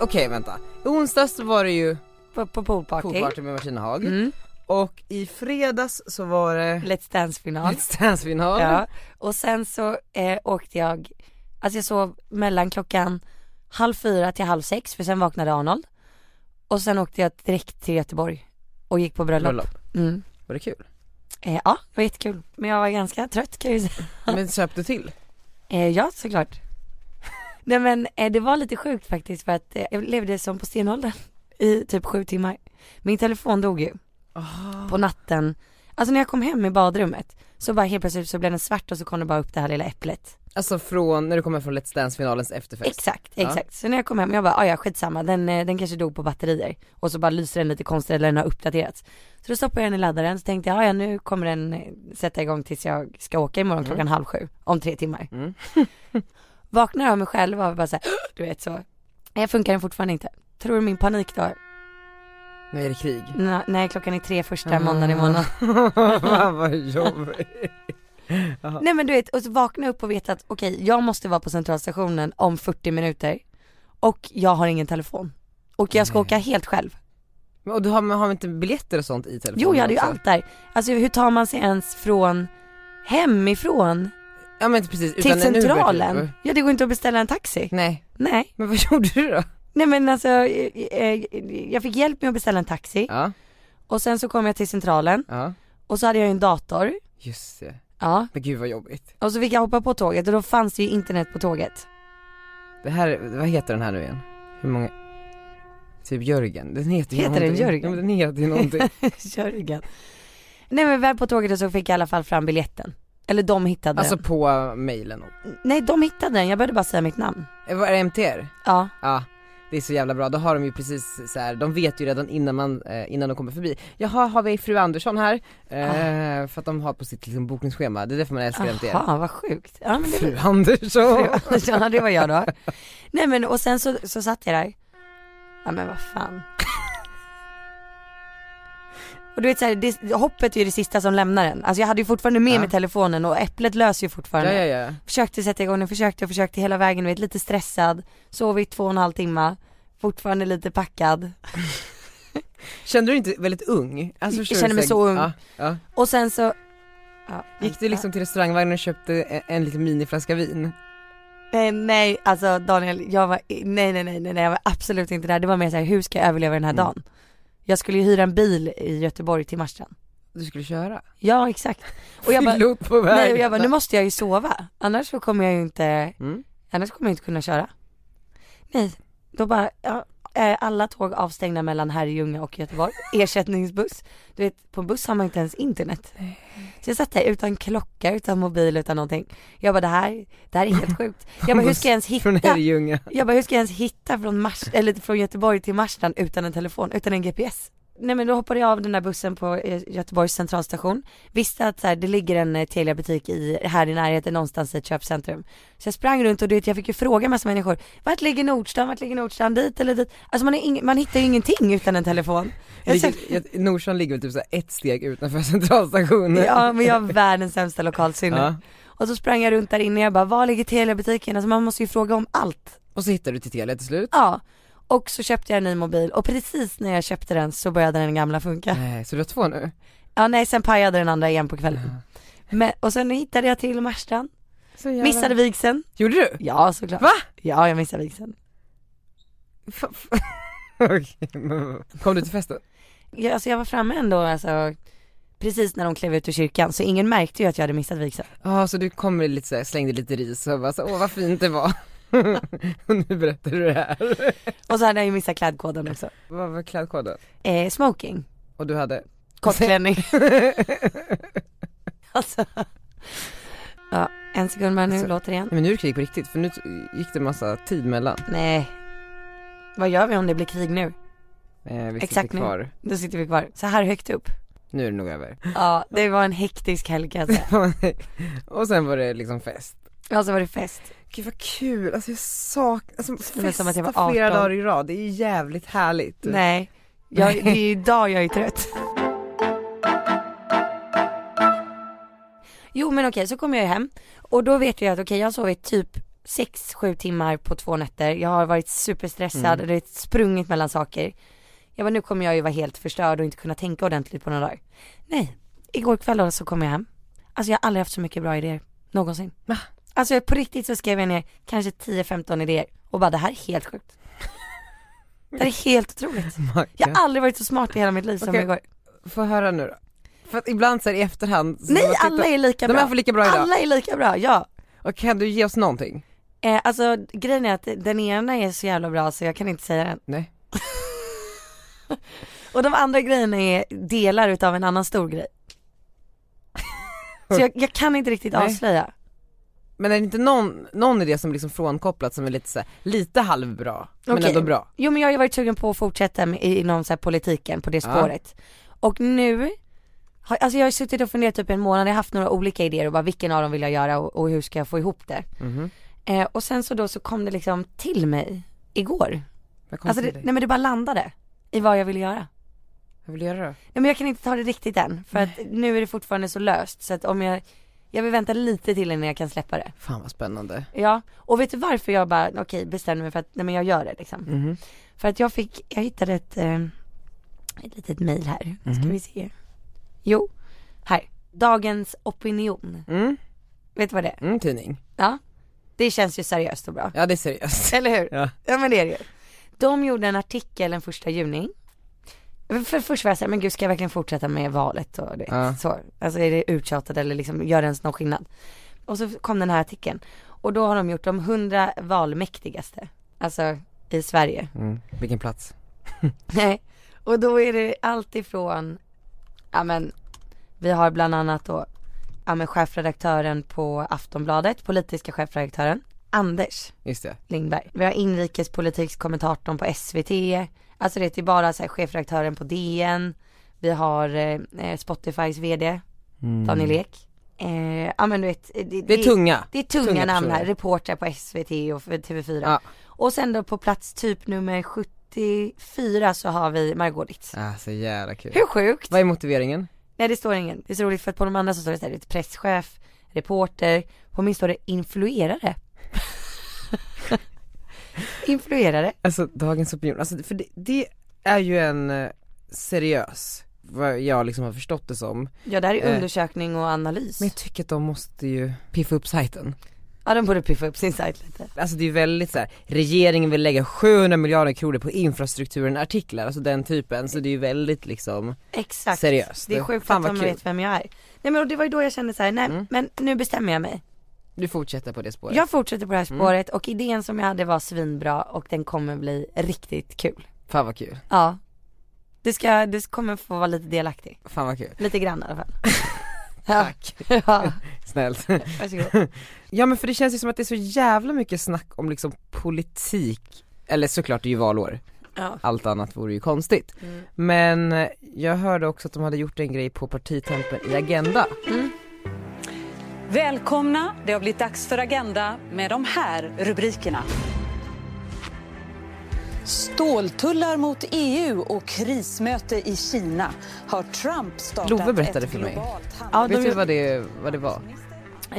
Okej, vänta. I onsdags så var det ju På, på poolparty. poolparty med Martina Haag. Mm. Och i fredags så var det Let's Dance-final. Let's Dance-final. Ja. Och sen så eh, åkte jag, alltså jag sov mellan klockan halv fyra till halv sex för sen vaknade Arnold. Och sen åkte jag direkt till Göteborg och gick på bröllop. Bröllop. Mm. Var det kul? Eh, ja, det var jättekul. Men jag var ganska trött kan jag ju säga. Men söp du till? Eh, ja, såklart. Nej men eh, det var lite sjukt faktiskt för att eh, jag levde som på stenåldern i typ sju timmar. Min telefon dog ju på natten. Alltså när jag kom hem i badrummet så bara helt plötsligt så blev den svart och så kom det bara upp det här lilla äpplet. Alltså från när du kommer från Let's Dance-finalens efterfest? Exakt, Ja. exakt. Så när jag kom hem, jag bara, "Ah, ja skitsamma, den, eh, den kanske dog på batterier. Och så bara lyser den lite konstigt eller den har uppdaterats. Så då stoppade jag den i laddaren, så tänkte jag, "Ah, ja nu kommer den eh, sätta igång tills jag ska åka imorgon klockan halv sju, om tre timmar. Mm. Vaknar av mig själv och bara såhär, du vet så. Jag funkar den fortfarande inte. Tror du min panik då? Nu är det krig. N- nej, klockan är tre Ah. första måndagen i månaden. Fan Ah. vad jobbigt. Nej men du vet, och så vakna upp och veta att okej, jag måste vara på centralstationen om 40 minuter och jag har ingen telefon. Och jag ska åka helt själv. Men, och du har, men har vi inte biljetter och sånt i telefonen Jo, jag hade ju också? allt där. Alltså hur tar man sig ens från hemifrån Ja men precis, till en Uber, centralen? typ. ja, det går inte att beställa en taxi. Nej, Nej, men vad gjorde du då? nej men alltså eh, eh, jag fick hjälp med att beställa en taxi Ja, och sen så kom jag till centralen ja, och så hade jag ju en dator. just det. Ja, Men gud vad jobbigt. och så fick jag hoppa på tåget och då fanns det ju internet på tåget. Det här, vad heter den här nu igen? Hur många? Typ Jörgen, den heter ju Heter den någonting. Jörgen? Ja, men den heter ju någonting. Jörgen. Nej men väl på tåget och så fick jag i alla fall fram biljetten. Eller de hittade alltså den. på eh, mailen. Nej de hittade den, jag behövde bara säga mitt namn. Eh, Vad är det, MTR? Ja, Ja, det är så jävla bra. Då har de ju precis så här, de vet ju redan innan man, eh, innan de kommer förbi. Jaha, har vi fru Andersson här? Eh, För att de har på sitt liksom, bokningsschema, det är därför man älskar MTR. Ah. jaha vad sjukt. Ja, men det Fru Andersson! Ja det var jag då. Nej men och sen så, så satt jag där. Ja men vad fan. Och du vet såhär, det- hoppet är ju det sista som lämnar en. Alltså jag hade ju fortfarande med Ja. mig telefonen och äpplet löser ju Ja, fortfarande. ja, ja. Försökte sätta igång den, försökte och försökte hela vägen, du vet lite stressad. Sov i två och en halv timme. Fortfarande lite packad. Kände du inte väldigt ung? Alltså, förstår du, kände mig här- så ung. Ja, ja. Och sen så... Ja, Gick du liksom till restaurangvagnen och köpte en, en liten miniflaska vin? Nej, nej, alltså Daniel, jag var, nej, nej, nej, nej, nej, jag var absolut inte där. Det var mer såhär, hur ska jag överleva den här Mm. dagen? Jag skulle ju hyra en bil i Göteborg till Marstrand. Du skulle köra? Ja, exakt. Och jag bara, Fyllot på vägen. nej, och jag bara, nu måste jag ju sova. Annars så kommer jag ju inte, Mm. annars kommer jag inte kunna köra. Nej, då bara, ja, eh, alla tåg avstängda mellan Herrljunga och Göteborg. Ersättningsbuss. Du vet, på en buss har man inte ens internet. Så jag satt där utan klocka, utan mobil, utan någonting. Jag bara, det här, det här är helt sjukt. Jag bara, hur ska jag ens Från hitta? Herrljunga. Jag bara, hur ska jag ens hitta från, Mars, eller från Göteborg till Marstrand utan en telefon, utan en GPS? Nej men då hoppade jag av den där bussen på eh, Göteborgs centralstation. Visste att så här, det ligger en eh, Telia-butik i, här i närheten någonstans i ett köpcentrum. Så jag sprang runt och du vet, jag fick ju fråga massa människor. Vart ligger Nordstan? Vart ligger Nordstan? Dit eller dit? Alltså man, är ing- man hittar ju ingenting utan en telefon. Jag Ligger, sökte- jag- Norsan ligger väl typ så här ett steg utanför centralstationen. ja men jag har världens sämsta lokalsinne. Ja. Och så sprang jag runt där inne och jag bara, var ligger Telia-butiken? Alltså man måste ju fråga om allt. Och så hittar du till Telia till slut. Ja, och så köpte jag en ny mobil och precis när jag köpte den så började den gamla funka. Eh, Nej, så du har två nu? Ja nej, sen pajade den andra igen på kvällen. Men, och sen hittade jag till Marstrand, Så jävla... missade vigseln. Gjorde du? Ja såklart. Va? Ja jag missade vigseln. Kom du till festen? Jag, alltså jag var framme ändå alltså, precis när de klev ut ur kyrkan så ingen märkte ju att jag hade missat vigseln. Ja, så du kom med lite så här, slängde lite ris och bara så, åh vad fint det var. och nu berättar du det här. Och så hade jag ju missat klädkoden också. Vad var klädkoden? Eh, smoking, Och du hade? kortklänning. alltså. Ja, en sekund bara nu, Alltså. låter igen. Nej men nu är det krig på riktigt för nu t- gick det massa tid mellan. Nej. Vad gör vi om det blir krig nu? Eh, vi Exakt sitter nu. kvar. Då sitter vi kvar så här högt upp. Nu är det nog över. Ja, det var en hektisk helg kan jag säga. och sen var det liksom fest. Och så Alltså, var det fest. Gud vad kul, alltså jag saknar, alltså känns som att jag festa var 18. i rad, det är ju jävligt härligt. Nej, jag, det är idag jag är trött. Jo men okej, så kommer jag ju hem och då vet jag att okej jag har sovit typ 6-7 timmar på två nätter. Jag har varit Mm. superstressad och det har sprungit mellan saker. Jag bara nu kommer jag ju vara helt förstörd och inte kunna tänka ordentligt på några dagar. Nej, igår kväll då så kom jag hem. Alltså jag har aldrig haft så mycket bra idéer någonsin. Va? Alltså jag- på riktigt så skrev jag ner kanske 10-15 idéer och bara det här är helt sjukt. Det här är helt otroligt. Jag har aldrig varit så smart i hela mitt liv som Okej. igår. Få höra nu då. För att ibland så här i efterhand så Nej man tittar- alla är lika De bra. här får lika bra idag. Alla är lika bra, ja. Och kan du ge oss någonting? Eh, alltså grejen är att den ena är så jävla bra så jag kan inte säga den. Nej. Och de andra grejerna är delar utav en annan stor grej. Så jag, jag kan inte riktigt Nej. avslöja. Men är det inte någon, någon idé som liksom frånkopplat som är lite så här, lite halvbra, men Okej. ändå bra? Jo men jag har ju varit sugen på att fortsätta med, inom så här, politiken på det Ja. spåret. Och nu, har, alltså jag har suttit och funderat typ en månad, jag har haft några olika idéer och bara vilken av dem vill jag göra och, och hur ska jag få ihop det. Mhm. Eh, och sen så då så kom det liksom till mig igår. Vad kom Alltså det, till dig? nej men det bara landade i vad jag ville göra. Vad vill du göra då? Nej men jag kan inte ta det riktigt än för att nu är det fortfarande så löst så att om jag, jag vill vänta lite till innan jag kan släppa det. Fan vad spännande. Ja, och vet du varför jag bara, okej bestämde mig för att, nej men jag gör det liksom. Mhm. För att jag fick, jag hittade ett, eh, ett litet mail här. Ska vi se. Jo, här. Dagens opinion. Mm. Vet du vad det är? Mm, tidning. Ja. Det känns ju seriöst och bra. Ja det är seriöst. Eller hur? Ja. Ja men det är det ju. De gjorde en artikel den första juni. För först var jag såhär, men gud ska jag verkligen fortsätta med valet och det, Ja. så. Alltså är det uttjatat eller liksom, gör det ens någon skillnad? Och så kom den här artikeln. Och då har de gjort de 100 valmäktigaste. Alltså i Sverige. Mm. Vilken plats? Nej, och då är det allt ifrån, ja men vi har bland annat då, ja men chefredaktören på Aftonbladet, politiska chefredaktören, Anders Just det. Lindberg. Vi har inrikespolitikskommentatorn på SVT, alltså det är bara så här, chefredaktören på DN, vi har eh, eh, Spotifys VD, Daniel Ek. Eh, ja men du vet, det, Mm. Det är tunga. det är tunga, Tunga namn här, personer. reportrar på SVT och för TV4. Ja. Och sen då på plats typ nummer 74 så har vi Margot Ditz. Ah, så jävla kul. Hur sjukt? Vad är motiveringen? Nej det står ingen, det är så roligt för att på de andra så står det såhär, presschef, reporter, på min står det influerare. influerare. Alltså dagens opinion, alltså för det, det är ju en eh, seriös, vad jag liksom har förstått det som. Ja det här är Eh. undersökning och analys. Men jag tycker att de måste ju piffa upp sajten. Ja de borde piffa upp sin sajt lite. Alltså det är ju väldigt så här, regeringen vill lägga 700 miljarder kronor på infrastrukturen artiklar, alltså den typen. Så det är ju väldigt liksom Exakt. seriöst. Det är sjukt Fan att vad de kul. vet vem jag är. Nej men och det var ju då jag kände så här: nej Mm. men nu bestämmer jag mig. Du fortsätter på det spåret. Jag fortsätter på det här Mm. spåret och idén som jag hade var svinbra och den kommer bli riktigt kul. Fan vad kul. Ja. Du ska, du kommer få vara lite delaktig. Fan vad kul. Lite grann i alla fall. Tack. Ja, Snällt. varsågod. Ja men för det känns ju som att det är så jävla mycket snack om liksom politik, eller såklart det är ju valår, Ja. Mm. allt annat vore ju konstigt. Men eh, jag hörde också att de hade gjort en grej på partitempen i Agenda. Välkomna! Det har blivit dags för Agenda med de här rubrikerna. Ståltullar mot EU och krismöte i Kina. Har Trump startat Love berättade ett för mig. globalt handel- Ja, Vet de, du vad det, vad det var?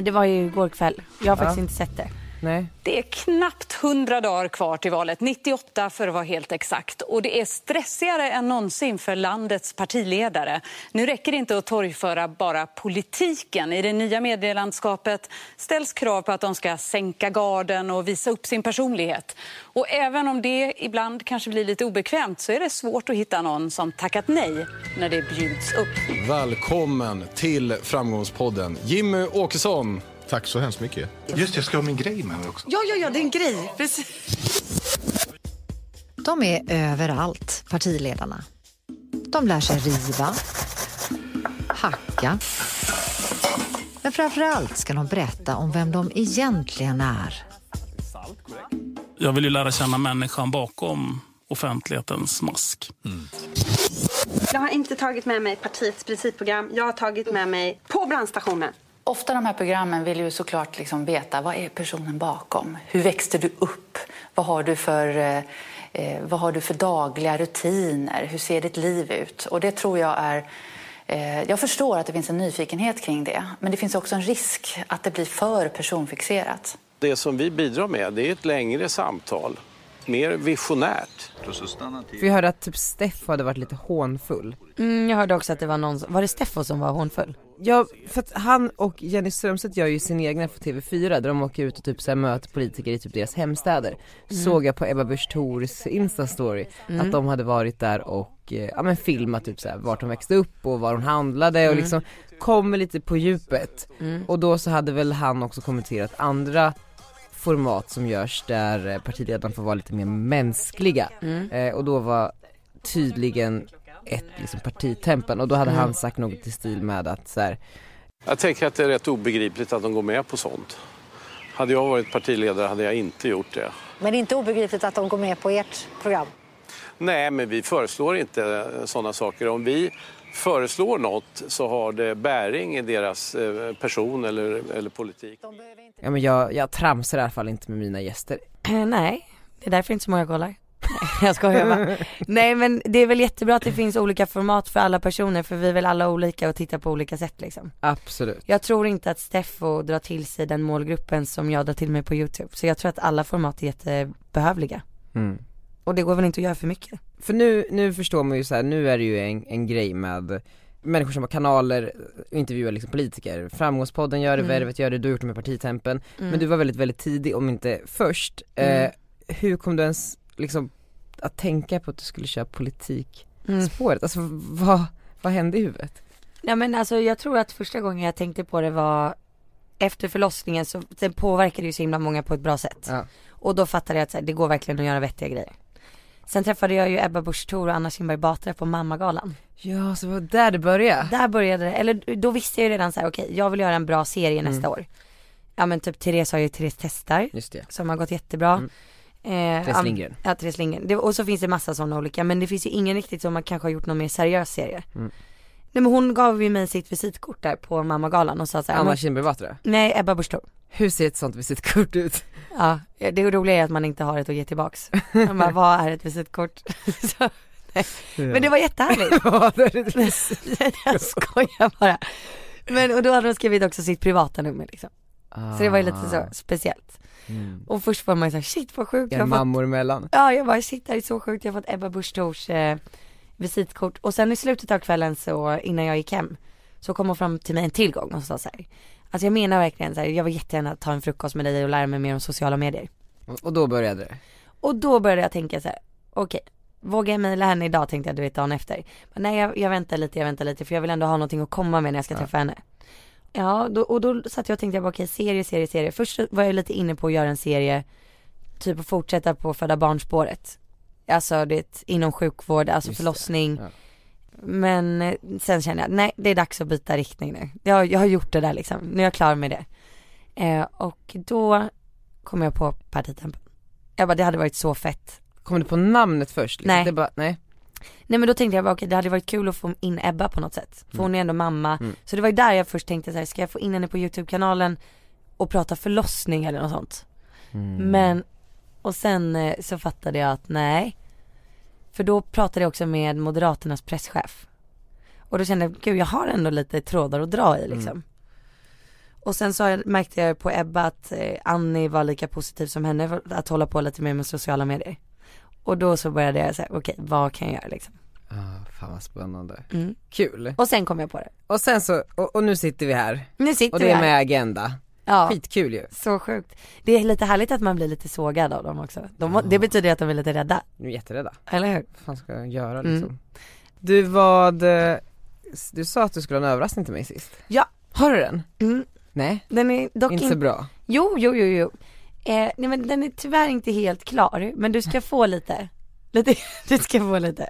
det var ju igår kväll. Jag har faktiskt inte sett det. Nej. Det är knappt 100 dagar kvar till valet, 98 för att vara helt exakt. Och det är stressigare än någonsin för landets partiledare. Nu räcker det inte att torgföra bara politiken. I det nya medielandskapet ställs krav på att de ska sänka garden och visa upp sin personlighet. Och även om det ibland kanske blir lite obekvämt så är det svårt att hitta någon som tackat nej när det bjuds upp. Välkommen till Framgångspodden, Jimmy Åkesson. Tack så hemskt mycket. Just det, jag ska ha min grej med mig också. Ja, ja, ja, det är en grej. Precis. De är överallt, partiledarna. De lär sig riva, hacka. Men framför allt ska de berätta om vem de egentligen är. Jag vill ju lära känna människan bakom offentlighetens mask. Jag har inte tagit med mig partiets principprogram. Jag har tagit med mig på brandstationen. Ofta de här programmen vill ju såklart liksom veta vad är personen bakom? Hur växte du upp? Vad har du för, eh, eh, vad har du för dagliga rutiner? Hur ser ditt liv ut? Och det tror jag är... Eh, jag förstår att det finns en nyfikenhet kring det, men det finns också en risk att det blir för personfixerat. Det som vi bidrar med det är ett längre samtal, mer visionärt. För jag hörde att typ Steff hade varit lite hånfull. Mm, jag hörde också att det var någon, som- var det Steffo som var hånfull? Ja, för att han och Jenny Strömstedt gör ju sin egna för TV4 där de åker ut och typ så här möter politiker i typ deras hemstäder. Såg jag på Ebba Busch Thors instastory att de hade varit där och eh, ja, men filmat typ så här vart hon växte upp och var hon handlade och liksom kommer lite på djupet. Och då så hade väl han också kommenterat andra format som görs där eh, partiledarna får vara lite mer mänskliga. Eh, och då var tydligen ett liksom, partitempen och då hade han sagt något i stil med att så här, Jag tänker att det är rätt obegripligt att de går med på sånt. Hade jag varit partiledare hade jag inte gjort det. Men det är inte obegripligt att de går med på ert program. Nej, men vi föreslår inte sådana saker. Om vi föreslår något så har det bäring i deras eh, person eller, eller politik. ja men jag, jag tramsar i alla fall inte med mina gäster. Eh, nej, det är därför inte så många kollar. jag skojar bara. Nej men det är väl jättebra att det finns olika format för alla personer för vi är väl alla olika och tittar på olika sätt liksom. Absolut. Jag tror inte att Steffo drar till sig den målgruppen som jag drar till mig på YouTube. Så jag tror att alla format är jättebehövliga. Mm. Och det går väl inte att göra för mycket. För nu, nu förstår man ju så här, nu är det ju en, en grej med människor som har kanaler, intervjuar liksom politiker. Framgångspodden gör det, Värvet gör det, du har gjort det med partitempen. Men du var väldigt, väldigt tidig, om inte först. Eh, hur kom du ens liksom att tänka på att du skulle köra Mm. politikspåret? Alltså vad, vad hände i huvudet? Nej men alltså jag tror att första gången jag tänkte på det var efter förlossningen så den påverkade ju så himla många på ett bra sätt. Ja. Och då fattade jag att så här, det går verkligen att göra vettiga grejer. Sen träffade jag ju Ebba Busch Thor och Anna Kinberg Batra på mammagalan. Ja, så det var där det började. Där började det, eller då visste jag ju redan så här: okej jag vill göra en bra serie Mm. nästa år. Ja men typ Therese har ju Therese testar. Just det. som har gått jättebra. Eh, Mm. Therese ja, Lindgren. Ja, Therese Lindgren. Det, och så finns det massa sådana olika, men det finns ju ingen riktigt som man kanske har gjort någon mer seriös serie. Nej men hon gav ju mig sitt visitkort där på mammagalan och sa såhär, Anna Anna... Kinberg Batra. nej Ebba Busch Thor. Hur ser ett sånt visitkort ut? Ja, det roliga är att man inte har ett att ge tillbaks. Man bara, vad är ett visitkort? så, nej. Men det var jättehärligt. Ja, det är det. Jag skojar bara. Men och då hade de skrivit också sitt privata nummer liksom. Så det var ju lite Ah. så speciellt. Och först var man ju såhär, shit vad sjukt, jag Ja, har fått Mm. mammor emellan. Ja jag bara shit det här är så sjukt, jag har fått Ebba Busch Thors eh, visitkort och sen i slutet av kvällen så innan jag gick hem så kom hon fram till mig en till gång och sa så här. Alltså jag menar verkligen så här, jag vill jättegärna ta en frukost med dig och lära mig mer om sociala medier. Och- Och då började det. Och då började jag tänka så här, okej, vågar jag mejla henne idag tänkte jag du vet dagen efter. Men nej jag, jag väntar lite, jag väntar lite för jag vill ändå ha någonting att komma med när jag ska träffa henne. Ja, då, och då satt jag och tänkte jag bara okej, serie, serie, serie. Först så var jag lite inne på att göra en serie, typ att fortsätta på föda barnspåret. Alltså det inom sjukvård, alltså Just det, förlossning. ja. Men eh, sen kände jag, nej det är dags att byta riktning nu. Jag, jag har gjort det där liksom, nu är jag klar med det. Eh, och då kom jag på partitempen. Jag bara det hade varit så fett Kom du på namnet först? Liksom? Nej. Det bara, nej. Nej men då tänkte jag bara okej det hade varit kul att få in Ebba på något sätt, för hon är ändå mamma. Så det var ju där jag först tänkte så här, ska jag få in henne på YouTube-kanalen och prata förlossning eller något sånt. Mm. Men, och sen eh, så fattade jag att nej. För då pratade jag också med Moderaternas presschef. Och då kände jag, gud jag har ändå lite trådar att dra i liksom. Och sen så har jag- märkte jag på Ebba att eh, Annie var lika positiv som henne för att hålla på lite mer med sociala medier. Och då så började jag säga, okej vad kan jag göra liksom? Ah, fan vad spännande. Mm. Kul. Och sen kom jag på det. Och sen så, och, och nu sitter vi här. Nu sitter Och det vi är här. med Agenda. Ja. Skitkul ju. Så sjukt. Det är lite härligt att man blir lite sågad av dem också. De, Det betyder att de är lite rädda. Nu är jätterädda. Eller hur? Vad fan ska jag göra Mm. liksom? Du vad, eh, du sa att du skulle ha en överraskning till mig sist. Ja. Har du den? Mm. Nej, Den är dock inte så in- bra. Jo, jo, jo, jo. Eh, nej men den är tyvärr inte helt klar, men du ska få lite. lite du ska få lite.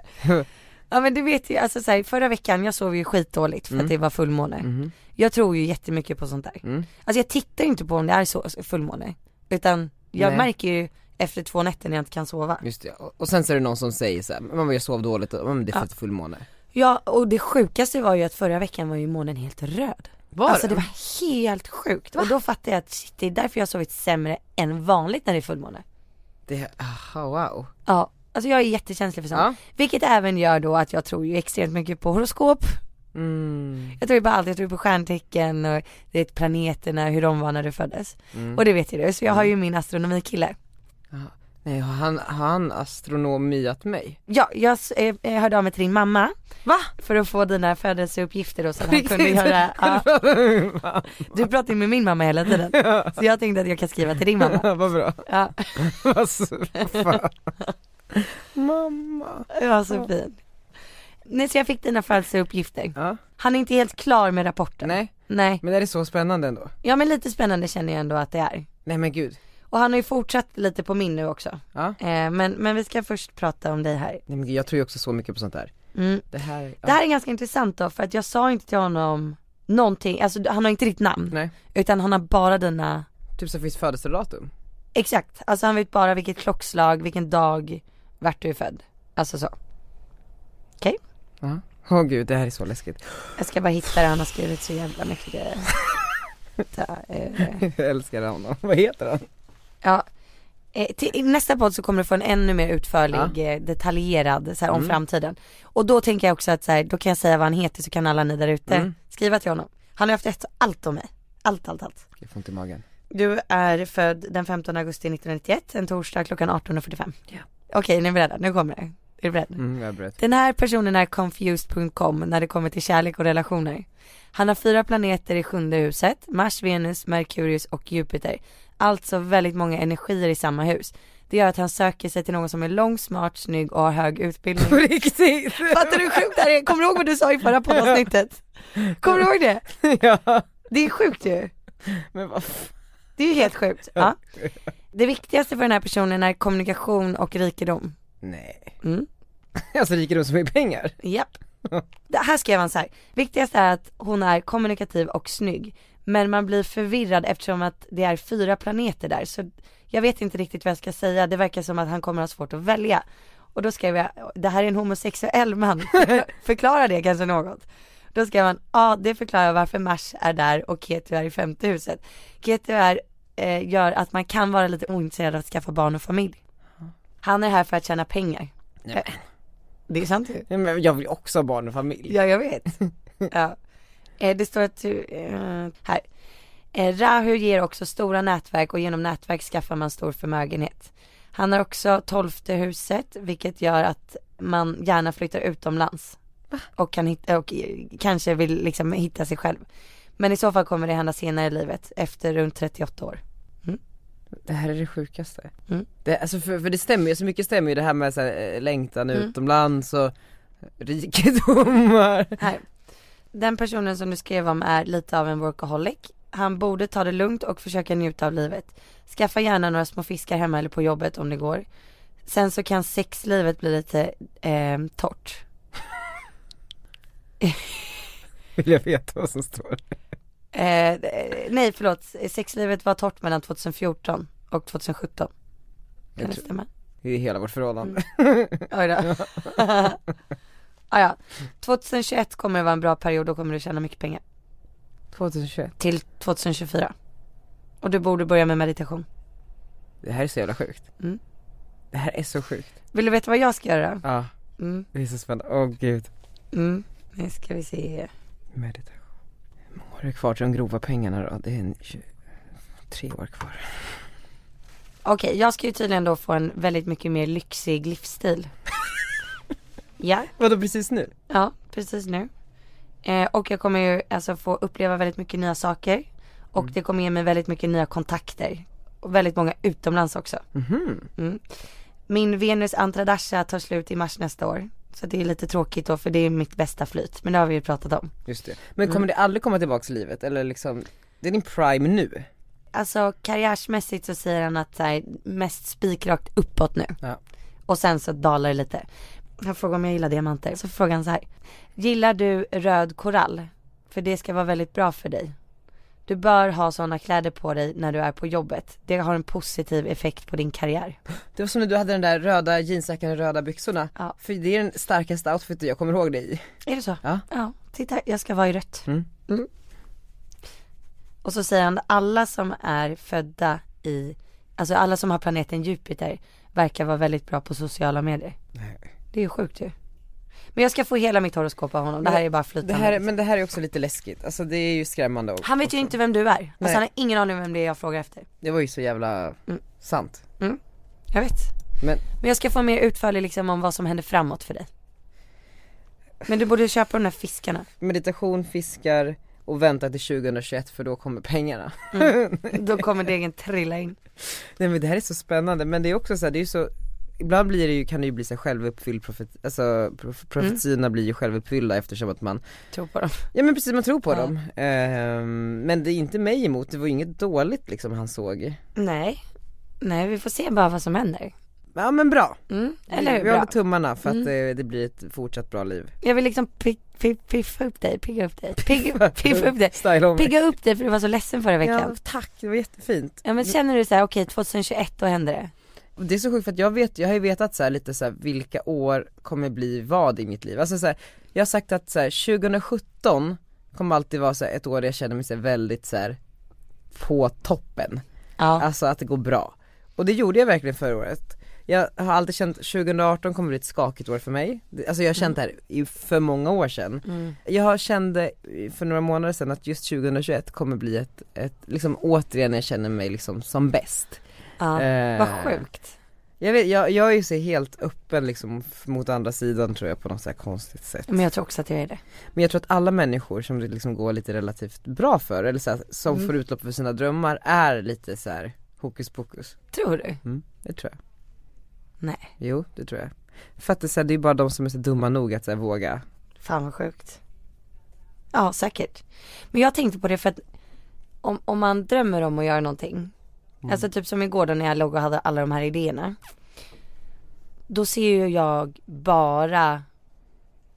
Ja men du vet ju, alltså så här, förra veckan jag sov ju skitdåligt för Mm. att det var fullmåne. Mhm. Jag tror ju jättemycket på sånt där. Mm. Alltså jag tittar ju inte på om det är så så fullmåne, utan jag Nej. märker ju efter två nätter när jag inte kan sova. Just det, och och sen så är det någon som säger så här, men mamma, jag sov dåligt och men det är för Ja. att det är fullmåne. Ja och det sjukaste var ju att förra veckan var ju månen helt röd. Var alltså det den? var helt sjukt. Och då fattade jag att shit, det är därför jag har sovit sämre än vanligt när det är fullmåne. Det, aha, wow. Ja, alltså jag är jättekänslig för sånt. Vilket även gör då att jag tror ju extremt mycket på horoskop. Jag tror ju på allt, jag tror på stjärntecken och det är planeterna, hur de var när du föddes. Mm. Och det vet ju du, så jag har ju min astronomikille. Nej, har han, har han astronomiat mig? Ja, jag s- eh, eh, hörde av mig till din mamma. Va? För att få dina födelseuppgifter då så att han Riktigt? kunde göra, ja. Ja. Du pratar ju med min mamma hela tiden. Så jag tänkte att jag kan skriva till din mamma. Vad bra. Ja, Alltså, fan. Mamma. ja så fin. Nej så jag fick dina födelseuppgifter. Ja. Han är inte helt klar med rapporten. Nej. Nej. Men det är så spännande ändå. Ja men lite spännande känner jag ändå att det är. Nej men gud. Och han har ju fortsatt lite på min nu också. Ja. Eh, men, men vi ska först prata om dig här. Nej men gud, jag tror ju också så mycket på sånt där. Mm. Det här, ja. Det här är ganska intressant då för att jag sa inte till honom någonting, alltså han har inte ditt namn. Nej. Utan han har bara dina, Typ så finns födelsedatum. exakt, alltså han vet bara vilket klockslag, vilken dag, vart du är född. Alltså så. Okej? Ja. Åh gud, det här är så läskigt. Jag ska bara hitta det, han har skrivit så jävla mycket grejer. Ta, eh, jag älskar honom. Vad heter han? Ja. Eh, till, I nästa podd så kommer du få en ännu mer utförlig, eh, detaljerad så här, om Mm. framtiden. Och då tänker jag också att så här, då kan jag säga vad han heter så kan alla ni där ute Mm. skriva till honom. Han har haft ett allt om mig. Allt, allt, allt. Jag får ont i magen. Du är född den 15 augusti 1991, en torsdag klockan 18.45. Ja. Okej, ni är beredda? Nu kommer det. Är du beredd? Mm, jag är beredd. Den här personen är confused.com när det kommer till kärlek och relationer. Han har fyra planeter i sjunde huset, Mars, Venus, Merkurius och Jupiter. Alltså väldigt många energier i samma hus. Det gör att han söker sig till någon som är lång, smart, snygg och har hög utbildning. På riktigt? Fattar du hur sjukt det här är? Kommer du ihåg vad du sa i förra poddavsnittet? Kommer du ihåg det? Ja. Det är sjukt ju. Men vad Det är ju helt sjukt. Ja. Det viktigaste för den här personen är kommunikation och rikedom. Nej. Mm. Alltså rikedom som är pengar. Japp. Det här skrev han så här. Viktigast är att hon är kommunikativ och snygg. Men man blir förvirrad eftersom att det är fyra planeter där. Så jag vet inte riktigt vad jag ska säga. Det verkar som att han kommer ha svårt att välja. Och då skrev jag, det här är en homosexuell man. Förklara det kanske något. Då skrev han, ja det förklarar varför Mars är där och Ketu är i femte huset. Ketu är, eh, gör att man kan vara lite ointresserad av att skaffa barn och familj. Han är här för att tjäna pengar. Nej, Eh, Det är sant ju. Nej, men jag vill ju också ha barn och familj. Ja, jag vet. ja. Eh, Det står att du, eh, här. Eh, Rahu ger också stora nätverk och genom nätverk skaffar man stor förmögenhet. Han har också tolfte huset, vilket gör att man gärna flyttar utomlands. Och, kan hitta, och eh, kanske vill liksom hitta sig själv. Men i så fall kommer det hända senare i livet, efter runt 38 år. Det här är det sjukaste. Mm. Det, alltså för, för det stämmer ju, så mycket stämmer ju det här med så här, eh, längtan Mm. utomlands och rikedomar. Här. Den personen som du skrev om är lite av en workaholic. Han borde ta det lugnt och försöka njuta av livet. Skaffa gärna några små fiskar hemma eller på jobbet om det går. Sen så kan sexlivet bli lite eh, torrt. Vill jag veta vad som står? Eh, eh, nej förlåt, sexlivet var torrt mellan 2014 och 2017. Kan Jag det tror- stämma? Det är hela vårt förhållande. Oj då. ah, ja. 2021 kommer det vara en bra period, då kommer du tjäna mycket pengar. 2021. Till 2024. Och du borde börja med meditation. Det här är så jävla sjukt. Mm. Det här är så sjukt. Vill du veta vad jag ska göra då? Ja, Mm, det är så spännande. Åh gud. mm. Nu ska vi se. Meditation. Vad är det kvar till de grova pengarna då? Det är en tju- tre år kvar. Okej, jag ska ju tydligen då få en väldigt mycket mer lyxig livsstil. ja. Vadå precis nu? Ja, precis nu. Eh, och jag kommer ju alltså få uppleva väldigt mycket nya saker. Och det kommer ge mig väldigt mycket nya kontakter. Och väldigt många utomlands också. Mhm. Mm. Min Venus Antradasha tar slut i mars nästa år. Så det är lite tråkigt då för det är mitt bästa flyt. Men det har vi ju pratat om. Just det. Men kommer Mm. det aldrig komma tillbaks till livet? Eller liksom, det är din prime nu? Alltså karriärsmässigt så säger han att så här, mest spikrakt uppåt nu. Och sen så dalar det lite. Han frågar om jag gillar diamanter. Så frågar han så här. Gillar du röd korall? För det ska vara väldigt bra för dig. Du bör ha sådana kläder på dig när du är på jobbet. Det har en positiv effekt på din karriär. Det var som när du hade den där röda jeansjackan och röda byxorna. För det är den starkaste outfiten jag kommer ihåg dig i. Är det så? Ja. Ja, titta jag ska vara i rött. Mm. Och så säger han alla som är födda i, alltså alla som har planeten Jupiter verkar vara väldigt bra på sociala medier. Det är ju sjukt ju. Men jag ska få hela mitt horoskop av honom, det här är bara flytande. Det här, men det här är också lite läskigt, alltså det är ju skrämmande och, Han vet ju inte vem du är. Alltså Nej. han har ingen aning om vem det är jag frågar efter. det var ju så jävla sant. Mm. Jag vet. Men Men jag ska få mer utförlig liksom om vad som händer framåt för dig. Men du borde köpa de där fiskarna. meditation, fiskar och vänta till 2021 för då kommer pengarna. Mm. Då kommer degen trilla in. Nej men det här är så spännande men det är också så här, det är ju så Ibland blir det ju, kan det ju bli så här självuppfylld profeti, alltså prof- profetiorna blir ju självuppfyllda eftersom att man Tror på dem. Ja men precis, man tror på Ja. dem. Ehm, men det är inte mig emot, det var ju inget dåligt liksom han såg. Nej. Nej, vi får se bara vad som händer. Ja men bra. Mm, eller hur? Vi håller Bra. tummarna för att Mm. eh, det blir ett fortsatt bra liv. Jag vill liksom pi- pi- piffa upp dig, pigga upp dig, pigga, piffa upp dig. Styla om mig. Pigga upp dig för du var så ledsen förra Ja veckan. tack, det var jättefint. Ja men känner du så här, okej 2021 då händer det. Och Det är så sjukt för att jag vet, jag har ju vetat så här lite så här vilka år kommer bli vad i mitt liv. Alltså så här, jag har sagt att så här, 2017 kommer alltid vara så här ett år där jag känner mig så här väldigt så här på toppen. Alltså att det går bra. Och det gjorde jag verkligen förra året. Jag har alltid känt 2018 kommer bli ett skakigt år för mig. Det- Alltså jag har känt det här i för många år sedan. Mm. Jag har kände för några månader sedan att just 2021 kommer bli ett, ett liksom återigen när jag känner mig liksom som bäst. Ja, Eh, vad sjukt. Jag, vet, jag, jag är ju så helt öppen liksom f- mot andra sidan tror jag på något så här konstigt sätt. Men jag tror också att jag är det. Men jag tror att alla människor som det liksom går lite relativt bra för eller så här, som Mm. får utlopp för sina drömmar är lite så här hokus pokus. Tror du? Mm, det tror jag. Nej. Jo, det tror jag. För att det, är så här, det är bara de som är så dumma nog att så här, våga. Fan vad sjukt. Ja säkert. Men jag tänkte på det för att om, om man drömmer om att göra någonting. Mm. Alltså typ som igår då när jag låg och hade alla de här idéerna. Då ser ju jag bara,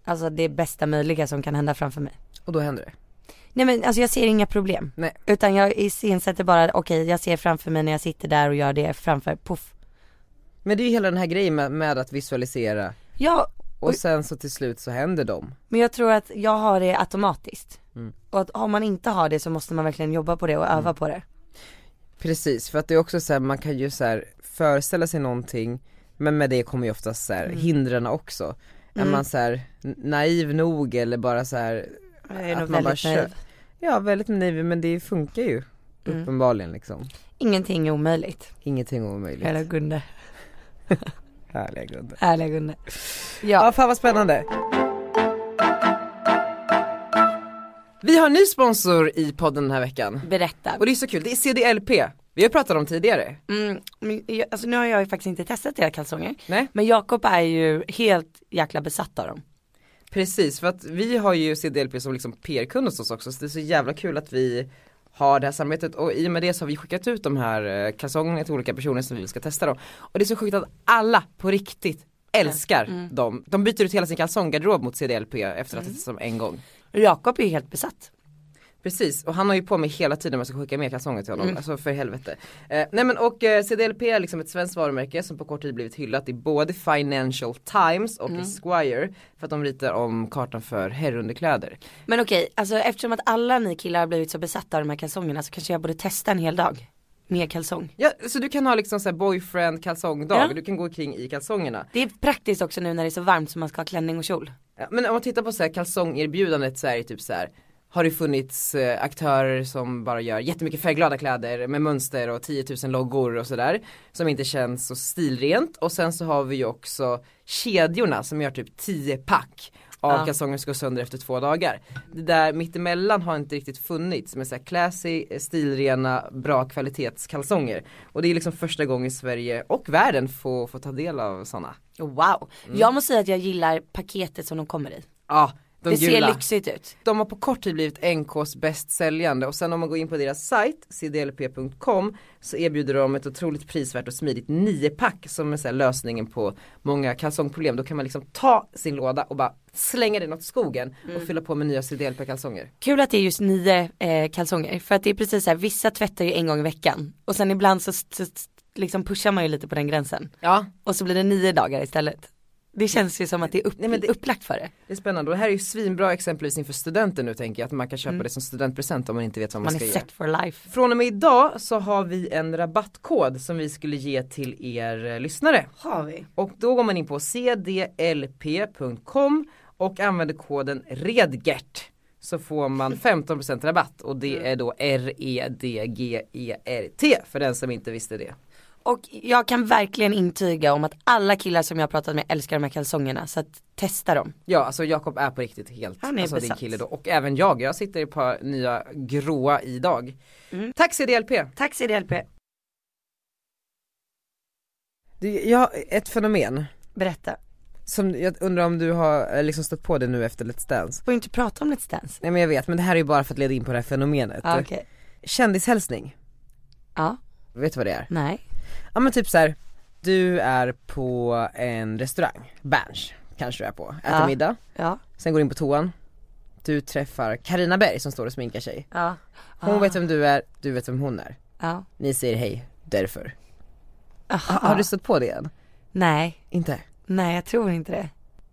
alltså det bästa möjliga som kan hända framför mig. Och då händer det. Nej men alltså jag ser inga problem. Nej. Utan jag iscensätter bara, okej jag ser framför mig när jag sitter där och gör det framför, poff. Men det är ju hela den här grejen med, med att visualisera. Ja. Och sen så till slut så händer de. Men jag tror att jag har det automatiskt. Mm. Och att om man inte har det så måste man verkligen jobba på det och öva på det. Precis, för att det är också så här, man kan ju så här föreställa sig någonting men med det kommer ju oftast så här Mm. hindren också. Mm. Är man så här n- naiv nog eller bara så här Jag är nog man väldigt kör- naiv. Ja väldigt naiv men det funkar ju Mm. uppenbarligen liksom. Ingenting är omöjligt. Ingenting omöjligt. Hela Gunde. Härliga grunder. Härliga Gunde. Ja. fan vad spännande. Vi har en ny sponsor i podden den här veckan. Berätta. Och det är så kul, det är CDLP. Vi har pratat om tidigare. Mm, men jag, alltså nu har jag ju faktiskt inte testat era kalsonger. Nej. Men Jakob är ju helt jäkla besatt av dem. Precis, för att vi har ju CDLP som liksom PR-kund hos oss också så det är så jävla kul att vi har det här samarbetet och i och med det så har vi skickat ut de här eh, kalsongerna till olika personer som vi ska testa dem. Och det är så sjukt att alla på riktigt älskar Mm. dem. De byter ut hela sin kalsonggarderob mot CDLP efter att ha testat dem en gång. Jakob är ju helt besatt. Precis, och han har ju på mig hela tiden när man ska skicka med kalsonger till honom, Mm. alltså för helvete. Eh, nej men och eh, CDLP är liksom ett svenskt varumärke som på kort tid blivit hyllat i både Financial Times och Mm. i Squire för att de ritar om kartan för herrunderkläder. Men okej, alltså eftersom att alla ni killar har blivit så besatta av de här kalsongerna så kanske jag borde testa en hel dag. Med kalsong. Ja, så du kan ha liksom såhär boyfriend kalsongdag, Ja. du kan gå kring i kalsongerna. Det är praktiskt också nu när det är så varmt så man ska ha klänning och kjol. Ja, Men om man tittar på såhär kalsongerbjudandet så är det typ såhär har det funnits eh, aktörer som bara gör jättemycket färgglada kläder med mönster och 10 000 loggor och sådär. Som inte känns så stilrent och sen så har vi ju också kedjorna som gör typ 10 pack av Ja. kalsonger som går sönder efter två dagar. Det där mittemellan har inte riktigt funnits med såhär classy, eh, stilrena, bra kvalitetskalsonger. Och det är liksom första gången Sverige och världen får, får ta del av sådana. Wow. Mm. Jag måste säga att jag gillar paketet som de kommer i. Ja, de det gula. ser lyxigt ut. De har på kort tid blivit NKs bäst säljande och sen om man går in på deras sajt cdlp.com så erbjuder de ett otroligt prisvärt och smidigt niopack som är så här lösningen på många kalsongproblem. Då kan man liksom ta sin låda och bara slänga den åt skogen och fylla på med nya cdlp kalsonger. Kul att det är just nio eh, kalsonger. För att det är precis så här, vissa tvättar ju en gång i veckan. Och sen ibland så, så liksom pushar man ju lite på den gränsen. Ja. Och så blir det nio dagar istället. Det känns ju som att det är upp, upplagt för det. Det är spännande och det här är ju svinbra exempelvis inför studenter nu tänker jag att man kan köpa det som studentpresent om man inte vet vad Mm. man, Man är ska ge. set for life. Från och med idag så har vi en rabattkod som vi skulle ge till er eh, lyssnare. Har vi. Och då går man in på cdlp.com och använder koden REDGERT så får man 15% rabatt och det Mm. är då E R-E-D-G-E-R-T E för den som inte visste det. Och jag kan verkligen intyga om att alla killar som jag har pratat med älskar de här kalsongerna. Så att testa dem. Ja alltså Jakob är på riktigt helt, Han är alltså din besatt. kille då och även jag, jag sitter i ett par nya gråa idag. Mm. Tack CDLP! Tack CDLP! Du, jag har ett fenomen. Berätta. Som jag undrar om du har eh, liksom stött på det nu efter Let's Dance? Får inte prata om Let's Dance. Nej men jag vet, men det här är ju bara för att leda in på det här fenomenet. Ja, Ah, okej. Kändishälsning. Ja. Vet du vad det är? Nej. Ja men typ så här. du är på en restaurang, Berns kanske du är på, äter Ja. middag. Ja. Sen går du in på toan, du träffar Karina Berg som står och sminkar sig. Ja. Hon Ah. vet vem du är, du vet vem hon är. Ja. Ni säger hej, därför. Ha, har du stött på det än? Nej. Inte? Nej jag tror inte det.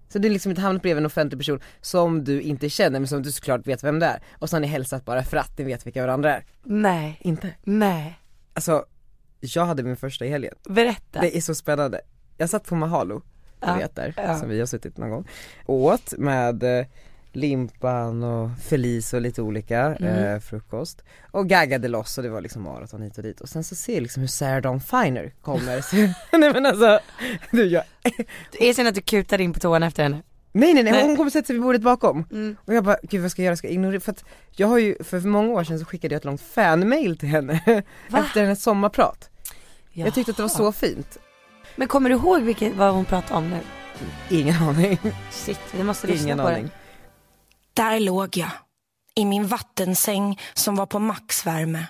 Så du har liksom inte hamnat bredvid en offentlig person som du inte känner men som du såklart vet vem det är. Och så har ni hälsat bara för att ni vet vilka varandra är. Nej. Inte? Nej. Alltså, jag hade min första i helgen. Berätta. Det är så spännande. Jag satt på Mahalo, du Ja, vet där, ja. som vi har suttit någon gång. Åt med eh, limpan och Felice och lite olika Mm. eh, frukost. Och gaggade loss och det var liksom maraton hit och dit. Och sen så ser jag liksom hur Sarah Dawn Finer kommer. Så, nej men alltså, du jag Är sen att du kutar in på toan efter henne. Nej nej nej, Nej. hon kommer sätta sig vid bordet bakom. Mm. Och jag bara, gud vad ska jag göra, ska jag ignorera? För att jag har ju, för många år sedan så skickade jag ett långt fanmail till henne efter hennes sommarprat. Jag tyckte att det var så fint. Men kommer du ihåg vilket, vad hon pratade om nu? Ingen aning. Shit, vi måste lyssna Ingen på aning. den. Där låg jag, i min vattensäng som var på maxvärme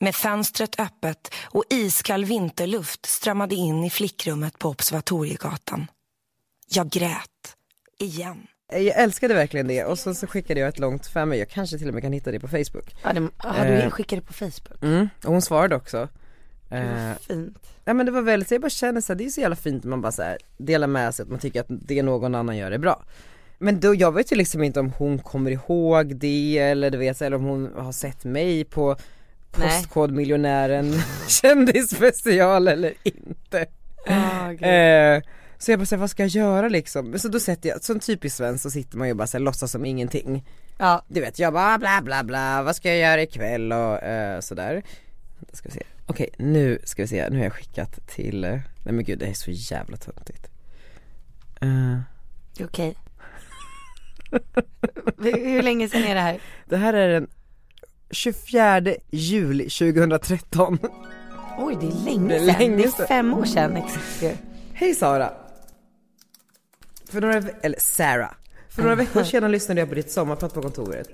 med fönstret öppet och iskall vinterluft strömmade in i flickrummet på Observatoriegatan. Jag grät, igen. Eh, Jag älskade verkligen det och sen så skickade jag ett långt fanmail, jag kanske till och med kan hitta det på Facebook. Ja, det, ja, du Eh, skickade på Facebook. Mm, och hon svarade också. Vad Eh, Fint. Ja men det var väldigt, jag bara känner såhär, det är så jävla fint när man bara såhär delar med sig att man tycker att det någon annan gör är bra. Men då, jag vet ju liksom inte om hon kommer ihåg det eller du vet, eller om hon har sett mig på Nej. Postkodmiljonären kändisspecial eller inte. Eh, så jag bara såhär, vad ska jag göra liksom? Men Så då sätter jag, som typiskt svensk så sitter man ju bara såhär låtsas som ingenting. Ja. Du vet, jag bara bla bla bla, vad ska jag göra ikväll och eh, sådär. Vänta ska vi se. Okej, nu ska vi se, nu har jag skickat till, eh, nej men gud det här är så jävla töntigt. Eh, Det är okej. Hur- Hur länge sedan är det här? det här är den 24 juli 2013. Oj, det är länge Det är sedan. länge det är sedan. fem år sedan exakt ju. Hej Sara. För några, ve- eller Sarah. För några veckor sedan lyssnade jag på ditt sommarprat på kontoret.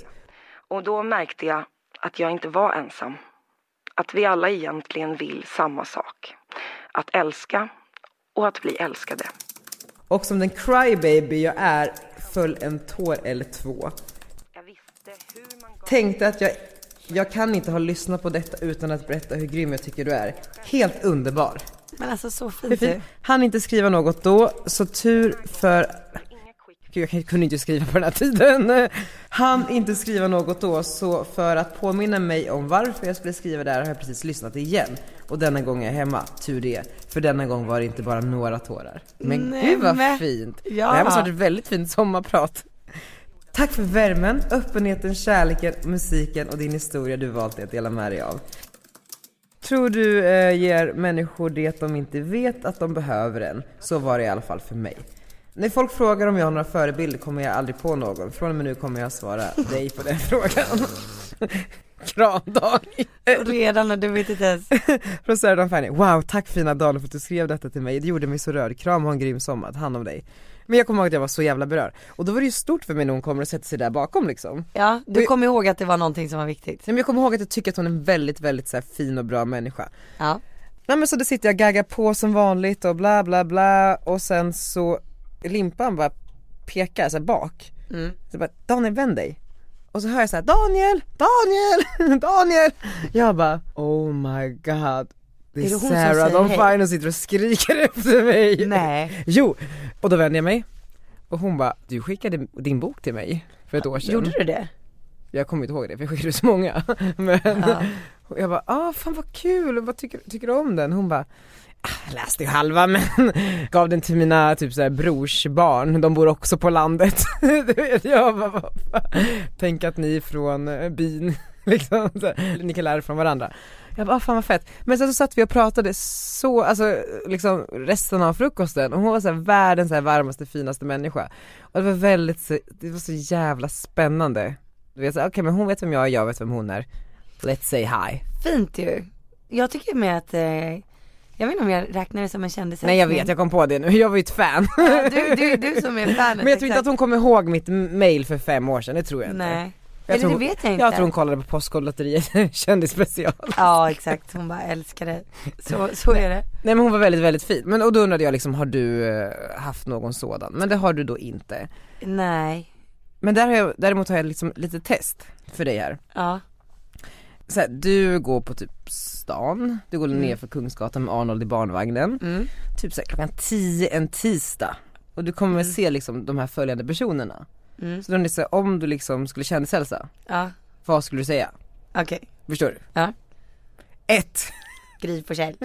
Och då märkte jag att jag inte var ensam. Att vi alla egentligen vill samma sak. Att älska och att bli älskade. Och som den crybaby jag är föll en tår eller två. Tänkte att jag, jag kan inte ha lyssnat på detta utan att berätta hur grym jag tycker du är. Helt underbar. Men alltså så Hur fint. fint. ju. Han inte skriva något då, så tur för Gud, jag kunde inte skriva på den här tiden. Han inte skriva något då, så för att påminna mig om varför jag skulle skriva där har jag precis lyssnat igen. Och denna gång är jag hemma, tur det. För denna gång var det inte bara några tårar. Men Nej, gud vad men- fint. Ja. Det här måste ha varit ett väldigt fint sommarprat. Tack för värmen, öppenheten, kärleken, musiken och din historia du valt att dela med dig av. Tror du eh, ger människor det de inte vet att de behöver en? Så var det i alla fall för mig. När folk frågar om jag har några förebilder kommer jag aldrig på någon. Från och med nu kommer jag svara dig på den frågan. Kramdag! Eh, Redan när du vet inte ens. Från Sarah Dawn Fanny. Wow, tack fina Dan för att du skrev detta till mig. Det gjorde mig så rörd. Kram, ha en grym sommar. Ta hand om dig. Men jag kommer ihåg att jag var så jävla berörd. Och då var det ju stort för mig när hon kommer och sätter sig där bakom liksom. Ja, du kommer ihåg att det var någonting som var viktigt. Nej men jag kommer ihåg att jag tycker att hon är en väldigt, väldigt så här, fin och bra människa. Ja. Nej men så då sitter jag och gaggar på som vanligt och bla bla bla och sen så limpan bara pekar så här, bak. Mm. Så bara, Daniel vänd dig. Och så hör jag så här, Daniel, Daniel, Daniel. Jag bara oh my god. Det är, Är det hon som Sarah säger Dawn hej? Fine och sitter och skriker efter mig. Nej. Jo, och då vände jag mig och hon bara, du skickade din bok till mig för ett år sedan. Gjorde du det? Jag kommer inte ihåg det för jag skickade så många. Men och jag bara, ah fan vad kul, vad tycker, tycker du om den? Hon bara, ah, jag läste ju halva men gav den till mina typ såhär brorsbarn, de bor också på landet. Du vet, jag bara, vad fan. tänk att ni är från eh, byn liksom, så här, ni kan lära er från varandra. Jag bara, ah, fan vad fett. Men sen så satt vi och pratade så, alltså liksom resten av frukosten och hon var så här världens så här, varmaste, finaste människa. Och det var väldigt, så- det var så jävla spännande. Du vet såhär, okej men hon vet vem jag är, jag vet vem hon är. Let's say hi. Fint ju. Jag tycker med att, eh, jag vet inte om jag räknar det som en kändis. Nej jag vet, jag kom på det nu, jag var ju ett fan. Ja, du, du, du som är fanet. Men jag tror inte att hon kommer ihåg mitt mail för fem år sedan, det tror jag inte. Nej. Jag Eller tror- det vet jag inte. Jag tror hon kollade på Postkodlotteriet, kändisspecial. Ja exakt, hon bara älskar det. Så, så är det. Nej men hon var väldigt väldigt fin, men och då undrade jag liksom har du eh, haft någon sådan? Men det har du då inte. Nej. Men där har jag, däremot har jag liksom lite test för dig här. Ja. Så här, du går på typ stan, du går Mm. ner för Kungsgatan med Arnold i barnvagnen. Mm. Typ såhär klockan 10 en tisdag. Och du kommer se liksom de här följande personerna. Mm. Så då är det så här, om du liksom skulle kändishälsa, Ja. vad skulle du säga? Okej. Förstår du? Ja. Ett. Gry Forssell.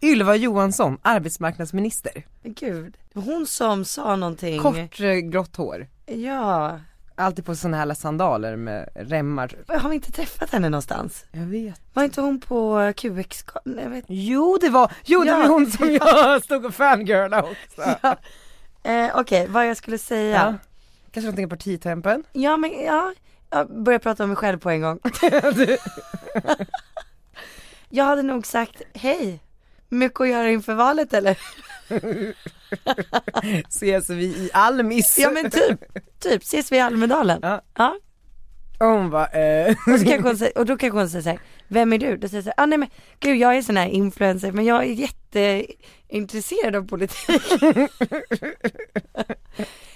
Ylva Johansson, arbetsmarknadsminister. Gud. Det var Hon som sa någonting. Kort eh, grått hår. Ja. Alltid på sådana här sandaler med remmar. Har vi inte träffat henne någonstans? Jag vet. Var inte hon på QX? Nej, jag vet. Jo det var, jo det Ja. var hon som jag stod och fangirlade också. Ja. Eh, Okej, vad jag skulle säga. Ja. Kanske någonting i partitempen. Ja men ja, jag börjar prata om mig själv på en gång. jag hade nog sagt, hej, mycket att göra inför valet eller? Ses vi i Almis. Ja men typ, typ, ses vi i Almedalen? Ja. ja. Och hon bara, eh. Och, så kanske hon säger, och då kanske hon säger så här, vem är du? Då säger jag så här, ah, nej men gud jag är sån här influencer men jag är jätteintresserad av politik.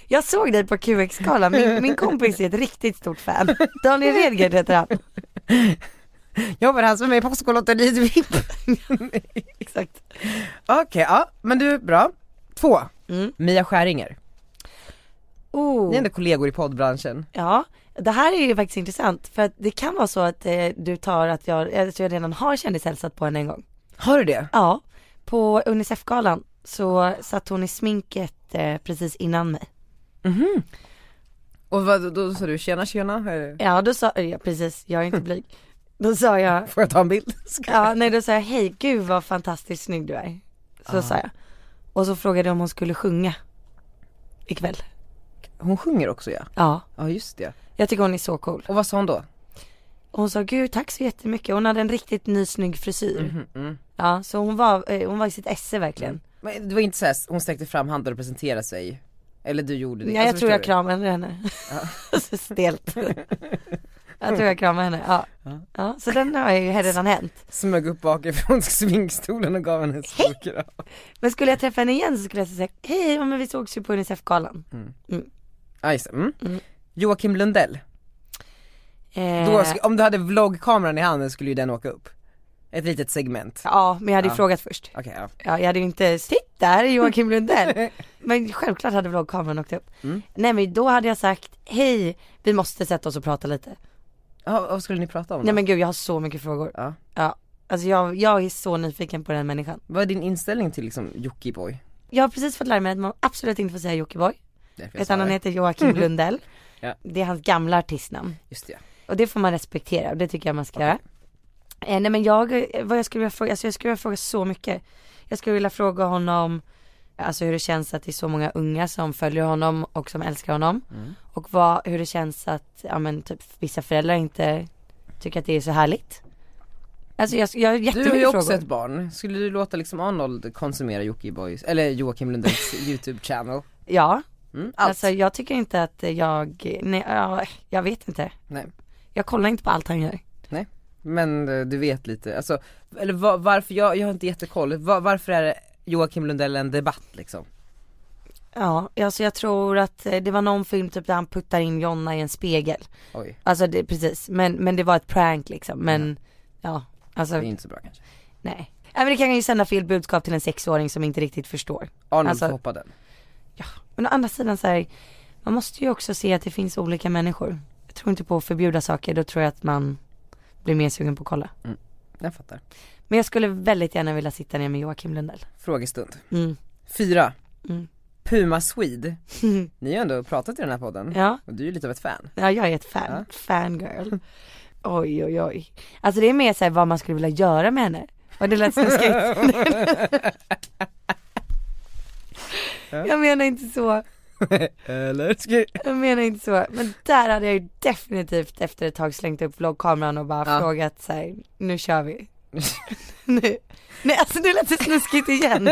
jag såg dig på QX-galan, min, min kompis är ett riktigt stort fan. Daniel Redgert heter han. Jag var han som är med i Postkodlotteriet VIP. Exakt. Okej, ja men du, bra. Två. Mm. Mia Skäringer. Oh. Ni är ändå kollegor i poddbranschen. Ja, det här är ju faktiskt intressant för att det kan vara så att eh, du tar att jag, jag tror jag redan har kändishälsat på henne en gång. Har du det? Ja, på Unicef-galan så satt hon i sminket eh, precis innan mig. Mhm. Och vad, då sa du tjena tjena? eh, Ja, då sa, ja precis, jag är inte blyg. Då sa jag, Får jag ta en bild? ja nej då sa jag hej gud vad fantastiskt snygg du är. Så Ah. sa jag. Och så frågade jag om hon skulle sjunga ikväll. Hon sjunger också ja. Ja, Ja just det. jag tycker hon är så cool. Och vad sa hon då? Och hon sa gud tack så jättemycket, hon hade en riktigt ny snygg frisyr. Mhm, mm. Ja, så hon var, eh, hon var i sitt esse verkligen. Men det var inte såhär, hon sträckte fram handen och presenterade sig? Eller du gjorde det? Nej jag Alltså, tror jag förstår kramade henne. Så Stelt. jag tror jag kramade henne, ja. ja. så den har ju redan hänt. du? Smög upp bakifrån svingstolen och gav henne en stor kram. Men skulle jag träffa henne igen så skulle jag säga, hej ja, men vi sågs ju på Unicef-galan. Ja just det. mm. Joakim Lundell, Eh, då, sk- om du hade vloggkameran i handen skulle ju den åka upp. Ett litet segment. Ja, men jag hade ju Ja. frågat först. Okej ja. Ja, jag hade ju inte, titta här är Joakim Lundell. men självklart hade vloggkameran åkt upp. Mm. Nej men då hade jag sagt, hej, vi måste sätta oss och prata lite. ja. Vad skulle ni prata om då? Nej men gud jag har så mycket frågor. Ja. ja. Alltså jag, jag är så nyfiken på den människan. Vad är din inställning till liksom Jockiboi? Jag har precis fått lära mig att man absolut inte får säga Jockiboi. Därför jag sa Utan han det. heter Joakim Lundell. Ja. Det är hans gamla artistnamn. Just det. ja. Och det får man respektera och det tycker jag man ska göra. Eh, nej men jag, eh, vad jag skulle vilja fråga, alltså jag skulle vilja fråga så mycket. Jag skulle vilja fråga honom, alltså hur det känns att det är så många unga som följer honom och som älskar honom. Mm. Och vad, hur det känns att, ja men typ vissa föräldrar inte tycker att det är så härligt. Alltså jag, jag Du har har ju jättemycket också frågor. ett barn, skulle du låta liksom Arnold konsumera Jocke Boys, eller Joakim Lundells youtube channel? Ja. Mm, allt. Alltså jag tycker inte att jag, nej, ja, jag vet inte. Nej. Jag kollar inte på allt han gör. Nej, men eh, du vet lite, alltså, eller va- varför, jag, jag har inte jättekoll, va- varför är det Joakim Lundell en debatt liksom? Ja, alltså jag tror att eh, det var någon film typ där han puttar in Jonna i en spegel. Oj, Alltså det, precis, men, men det var ett prank liksom, men ja, alltså det är inte så bra kanske nej. Ja, men det kan ju sända fel budskap till en sexåring som inte riktigt förstår. Arnold Alltså- får hoppa den Men å andra sidan så här, man måste ju också se att det finns olika människor. Jag tror inte på att förbjuda saker, då tror jag att man blir mer sugen på att kolla. Jag fattar. Men jag skulle väldigt gärna vilja sitta ner med Joakim Lundell. Frågestund. Mm. Fyra. Mm. Puma Swede. Ni har ju ändå pratat i den här podden. Ja. Och du är ju lite av ett fan. Ja, jag är ett fan, fangirl. Oj, oj, oj. Alltså det är mer såhär vad man skulle vilja göra med henne. Och det lät snuskigt. jag menar inte så, Eller? Ska... jag menar inte så. Men där hade jag ju definitivt efter ett tag slängt upp vloggkameran och bara Ja. frågat såhär, nu kör vi. nu. Nej alltså det lät så snuskigt igen.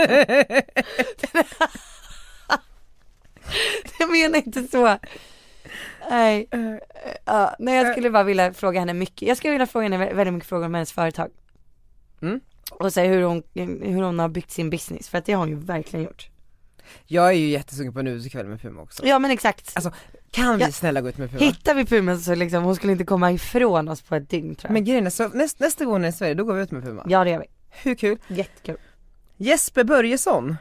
jag menar inte så. Nej. Ja, nej jag skulle bara vilja fråga henne mycket, jag skulle vilja fråga henne väldigt mycket frågor om hennes företag. Mm. Och säga hur hon, hur hon har byggt sin business, för att det har hon ju verkligen gjort. Jag är ju jättesugen på en utekväll med Puma också. Ja men exakt. Alltså, Kan vi Ja. snälla gå ut med Puma? Hittar vi Pumen så liksom, hon skulle inte komma ifrån oss på ett dygn tror jag. Men grejen är så, näst, nästa gång hon är i Sverige då går vi ut med Puma. Ja det gör vi. Hur kul? Jättekul. Jesper Börjesson.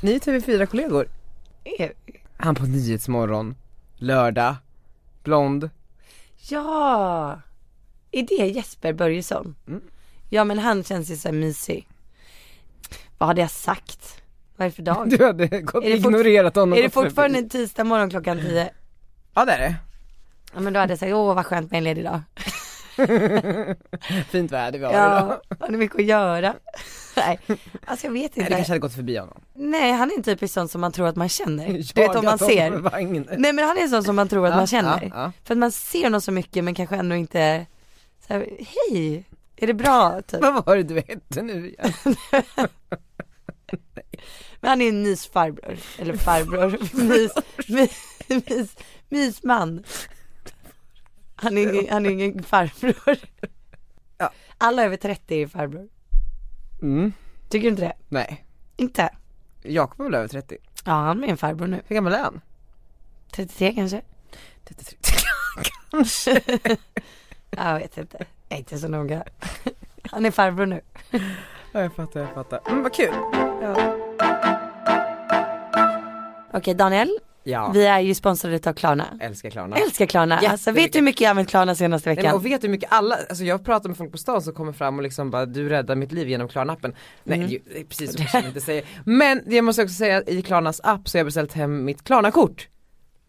Ni är TV4-kollegor. Är- Han på Nyhetsmorgon, lördag, blond. Ja! Är det Jesper Börjesson? Mm. Ja men han känns ju så här mysig. Vad hade jag sagt? Vad är det för dag? Du hade gått Är det fort- ignorerat honom. Är det också. fortfarande en tisdag morgon klockan 10? Ja det är det. Ja men då hade jag sagt, åh vad skönt med en ledig dag. Fint väder vi har idag. Ja, har ni mycket att göra? Nej, alltså jag vet Nej, det kanske inte. hade gått förbi honom. Nej, han är en typisk sån som man tror att man känner. Du Jag vet om tar man ser. tomvagn. Nej men han är en sån som man tror att Ja, man känner. ja, ja. För att man ser någon så mycket men kanske ändå inte, så här, hej, är det bra? Typ. Vad var det du hette nu igen? Men han är en mysfarbror, eller farbror, mys, mys, mys, mysman. Han är, ingen, han är ingen farbror. Ja. Alla över 30 är farbror. Mm, Tycker du inte det? nej. Inte? Jakob är väl över 30? Ja, han är en farbror nu. Hur gammal är han? 33 kanske? 33. Ja, jag vet inte. Jag är inte så noga. Han är farbror nu. Ja, jag fattar, jag fattar. Mm, vad kul. Okej Daniel, Ja, vi är ju sponsrade av Klarna. älskar Klarna. Jag älskar Klarna. Alltså vet du hur mycket jag har använt Klarna senaste Nej, men, veckan? och vet du hur mycket alla, alltså jag pratar med folk på stan som kommer fram och liksom bara du räddar mitt liv genom Klarna-appen. Nej Mm. ju- det är precis som jag inte säger. Men det måste jag också säga i Klarnas app så har jag beställt hem mitt Klarna-kort.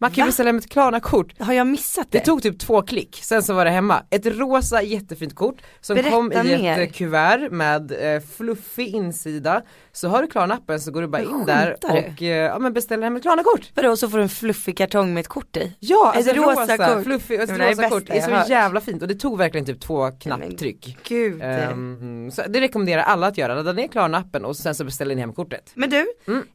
Man kan ju Va? beställa hem ett Klarna-kort. Har jag missat det? Det tog typ två klick, sen så var det hemma. Ett rosa jättefint kort som Berätta kom i mer. ett eh, kuvert med eh, fluffig insida. Så har du Klarna-appen så går du bara Men in där skämtar du? och eh, ja, men beställer hem ett Klarna-kort. Vadå, så får du en fluffig kartong med ett kort i? Ja, Ett alltså rosa, rosa rosa kort. fluffigt, Det ett var det rosa kort. bästa Det är så jag hört. jävla fint och det tog verkligen typ två men knapptryck. Gud. Ehm, så det rekommenderar alla att göra, ladda ner Klarna-appen och sen så beställer ni hem kortet. Men du,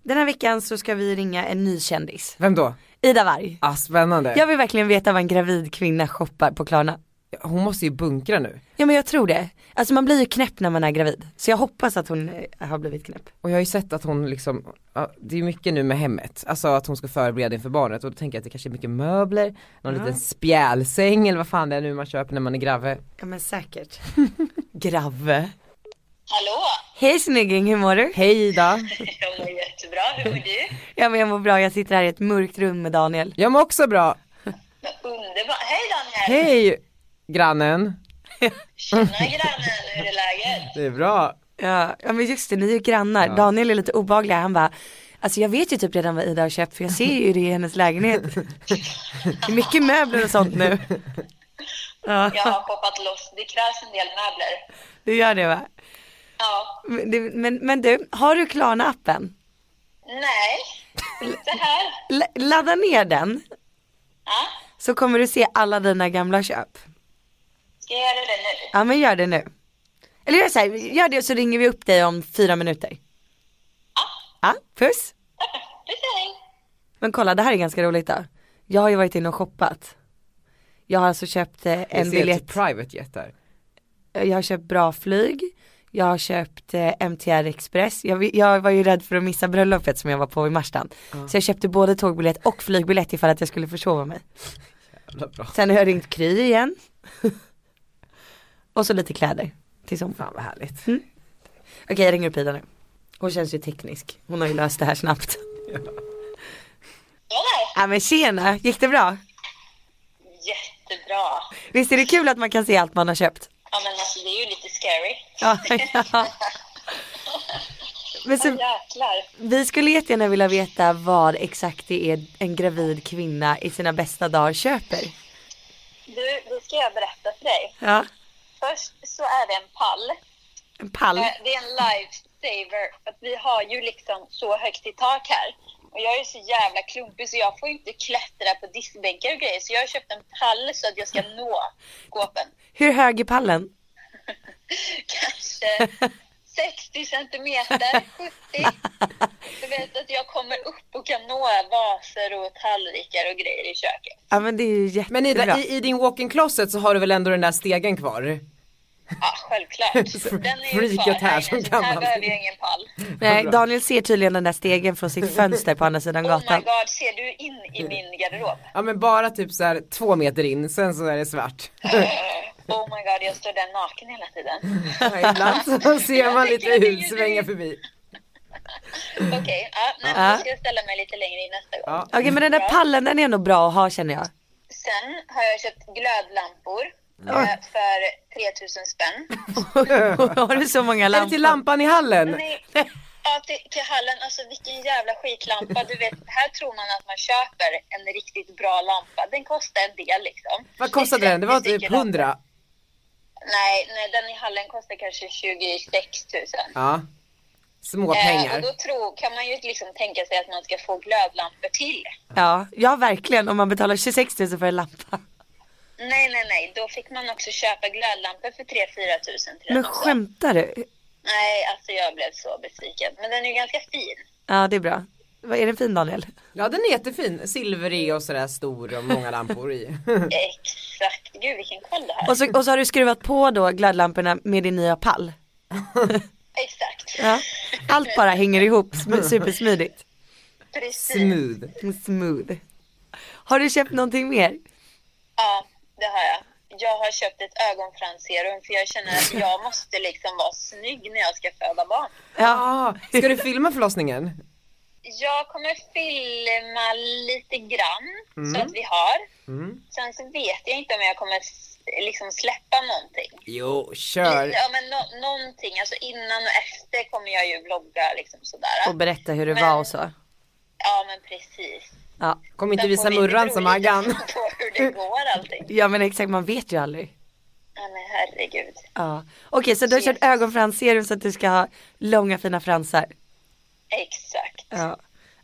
den här veckan så ska vi ringa en ny kändis. Vem då? Ida Warg. Ah, spännande. Jag vill verkligen veta vad en gravid kvinna shoppar på Klarna. Hon måste ju bunkra nu. Ja men jag tror det. Alltså man blir ju knäpp när man är gravid. Så jag hoppas att hon eh, har blivit knäpp. Och jag har ju sett att hon liksom, ja, det är mycket nu med hemmet, alltså att hon ska förbereda inför barnet och då tänker jag att det kanske är mycket möbler, någon Ja. liten spjälsäng eller vad fan det är nu man köper när man är grave. Ja men säkert. grave. Hallå! Hej snygging, hur mår du? Hej Ida! Jag mår jättebra, hur mår du? Ja men jag mår bra, jag sitter här i ett mörkt rum med Daniel. Jag mår också bra. Underbart! Hej Daniel! Hej grannen! Tjena grannen, hur är läget? Det är bra. Ja, ja men just det, ni är ju grannar. Ja. Daniel är lite obehaglig, han bara Alltså jag vet ju typ redan vad Ida har köpt för jag ser ju det i hennes lägenhet. Det är mycket möbler och sånt nu. Ja, Jag har shoppat loss. Det krävs en del möbler. du gör det va? Ja. Men, det- men, men du, har du Klarna-appen? Nej, inte här. L- ladda ner den. Ja. Så kommer du se alla dina gamla köp. Ska jag göra det nu? Ja men gör det nu. Eller gör så här, gör det så ringer vi upp dig om fyra minuter. Ja, puss. Men kolla, det här är ganska roligt då. Jag har ju varit inne och shoppat. Jag har alltså köpt eh, en biljett, private jet där. Eh, jag har köpt bra flyg, jag har köpt eh, MTR Express, jag, vi- jag var ju rädd för att missa bröllopet som jag var på i Marstrand. Ja. Så jag köpte både tågbiljett och flygbiljett ifall att jag skulle försova mig. Jävla bra. Sen har jag ringt Kry igen. och så lite kläder till sommaren. Fan vad härligt. Mm. Okej jag ringer upp Ida nu. Hon känns ju teknisk. Hon har ju löst det här snabbt. Ja men tjena, gick det bra? Jättebra. Visst är det kul att man kan se allt man har köpt? Ja, men alltså det är ju lite scary. Ja, ja. Men Åh, så, jäklar. vi skulle jättegärna vilja veta vad exakt det är en gravid kvinna i sina bästa dagar köper. Du, det ska jag berätta för dig. Ja, Först så är det en pall. en pall. Eh, Det är en lifesaver. För att vi har ju liksom så högt i tak här. Och jag är så jävla klumpig så jag får ju inte klättra på diskbänkar och grejer. Så jag har köpt en pall så att jag ska nå skåpen. Hur hög är pallen? Kanske 60 centimeter, 70. Du vet att jag kommer upp och kan nå vaser och tallrikar och grejer i köket. Ja men det är ju jättebra. Men Ida, i, i din walk-in closet så har du väl ändå den där stegen kvar? Ja, självklart. Den är ju kvar Freakat här här som inne, så här gammal. behöver jag ingen pall. Nej, Daniel ser tydligen den där stegen från sitt fönster på andra sidan Oh my gatan. god, ser du in i min garderob? Ja men bara typ så här två meter in, sen så är det svart. Oh my god, jag står där naken hela tiden. Mm. Ja, Ibland så ser man lite hus svänga förbi. Okej, ja, men Ja. då ska jag ställa mig lite längre in nästa gång. Okej men den där pallen den är nog bra att ha känner jag. Sen har jag köpt glödlampor Ja. eh, för 3000 spänn. har du så många lampor? Är det till lampan i hallen? Nej, ja, till, till hallen, alltså vilken jävla skitlampa. Du vet, här tror man att man köper en riktigt bra lampa. Den kostar en del liksom. Vad kostade den? Det var 30 typ stycken lampor. 100. Nej, nej, den i hallen kostar kanske 26 000. Ja. Småpengar. Eh, och då tror, kan man ju liksom tänka sig att man ska få glödlampor till. Ja, ja verkligen om man betalar 26 000 för en lampa. Nej, nej, nej. Då fick man också köpa glödlampor för 3-4 tusen till den Men också. skämtar du? Nej, alltså jag blev så besviken. Men den är ju ganska fin. Ja det är bra. Vad Är den fin Daniel? Ja den är jättefin, silverig och sådär stor och många lampor i. Exakt. Gud, vilken koll det här. Och så, och så har du skruvat på då glödlamporna med din nya pall. Exakt. Ja. Allt bara hänger ihop sm- supersmidigt. Precis. Smooth. Mm, Smooth. Har du köpt någonting mer? Ja, det har jag. Jag har köpt ett ögonfransserum för jag känner att jag måste liksom vara snygg när jag ska föda barn. Ja. Ska du filma förlossningen? Jag kommer filma lite grann Mm. så att vi har. Mm. Sen så vet jag inte om jag kommer s- liksom släppa någonting. Jo, kör. Ja, men nå- någonting. Alltså innan och efter kommer jag ju vlogga liksom sådär. Och berätta hur det var och så. Ja, men precis. Ja. Kom inte Sen visa får vi- det murran beror som lite Aggan. på hur det går allting. ja men exakt man vet ju aldrig. Ja, men herregud. Ja. Okej så du har köpt ögonfransserum så att du ska ha långa fina fransar. Exakt. Ja.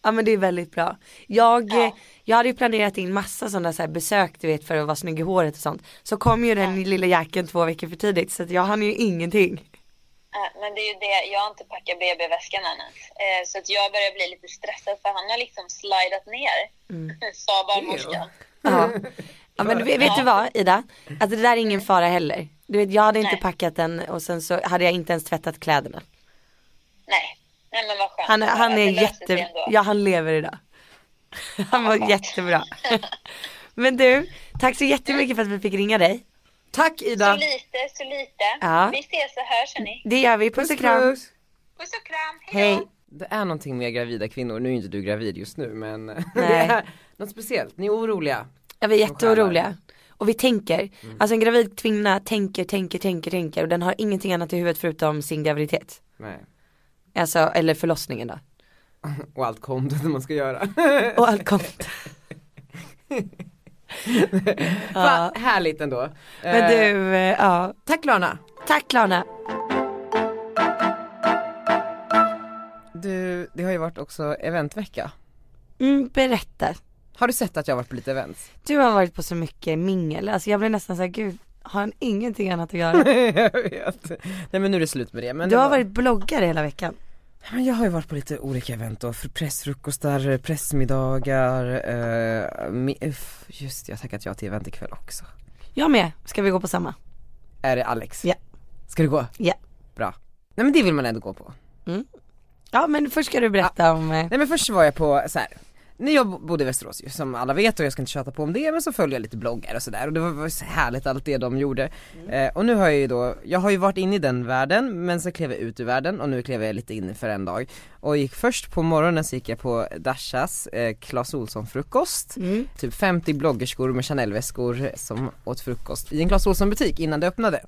ja men det är väldigt bra. Jag, eh, jag hade ju planerat in massa sådana så här besök du vet för att vara snygg i håret och sånt. Så kom ju den lilla jäkeln två veckor för tidigt så att jag hann ju ingenting. Ja, Men det är ju det, jag har inte packat BB-väskan än ens. Eh, Så att jag börjar bli lite stressad för han har liksom slidat ner, Mm. sa barnmorskan. Ja. ja men vet, vet du vad Ida? Alltså det där är ingen fara heller. Du vet jag hade inte Nej. packat den och sen så hade jag inte ens tvättat kläderna. Nej, nej men vad skönt. Han, han Det är löser sig jätte, ändå. ja han lever idag. Han var jättebra. Men du, tack så jättemycket för att vi fick ringa dig. Tack Så Ida. lite, så lite. Ja. Vi ses och hörs hörni. Det gör vi, puss och kram. Puss och kram, Hej. Det är någonting med gravida kvinnor, nu är inte du gravid just nu men det Nej. är något speciellt, ni är oroliga. Ja vi är jätteoroliga. Och vi tänker, alltså en gravid kvinna tänker, tänker, tänker, tänker och den har ingenting annat i huvudet förutom sin graviditet. Nej. Alltså, eller förlossningen då. Och allt content man ska göra. Och allt content. Fan, härligt ändå. Men du, eh, ja. Tack Lana. Tack Lana. Du, det har ju varit också eventvecka. Mm, berätta. Har du sett att jag har varit på lite events? Du har varit på så mycket mingel, alltså jag blir nästan såhär, gud, har han ingenting annat att göra? jag vet. Nej men nu är det slut med det. Men du det har var- varit bloggare hela veckan. Nej, Men jag har ju varit på lite olika event då, för pressfrukostar, eh, pressmiddagar, eh, mi- uff, just det, jag har tackat ja till event ikväll också. Jag med, ska vi gå på samma? Är det Alex? Ja. Ska du gå? Ja. Bra. Nej men det vill man ändå gå på. Ja men först ska du berätta om, eh, Nej men först var jag på så här. När jag bodde i Västerås ju, som alla vet och jag ska inte tjata på om det men så följde jag lite bloggar och sådär och det var- var så härligt allt det de gjorde. Mm. Eh, och nu har jag ju då, jag har ju varit inne i den världen men så klev jag ut ur världen och nu klev jag lite in för en dag. Och gick först på morgonen så gick jag på Dashas eh, Clas Ohlson frukost. Mm. Typ 50 bloggerskor med Chanel-väskor som åt frukost i en Clas Ohlson butik innan det öppnade.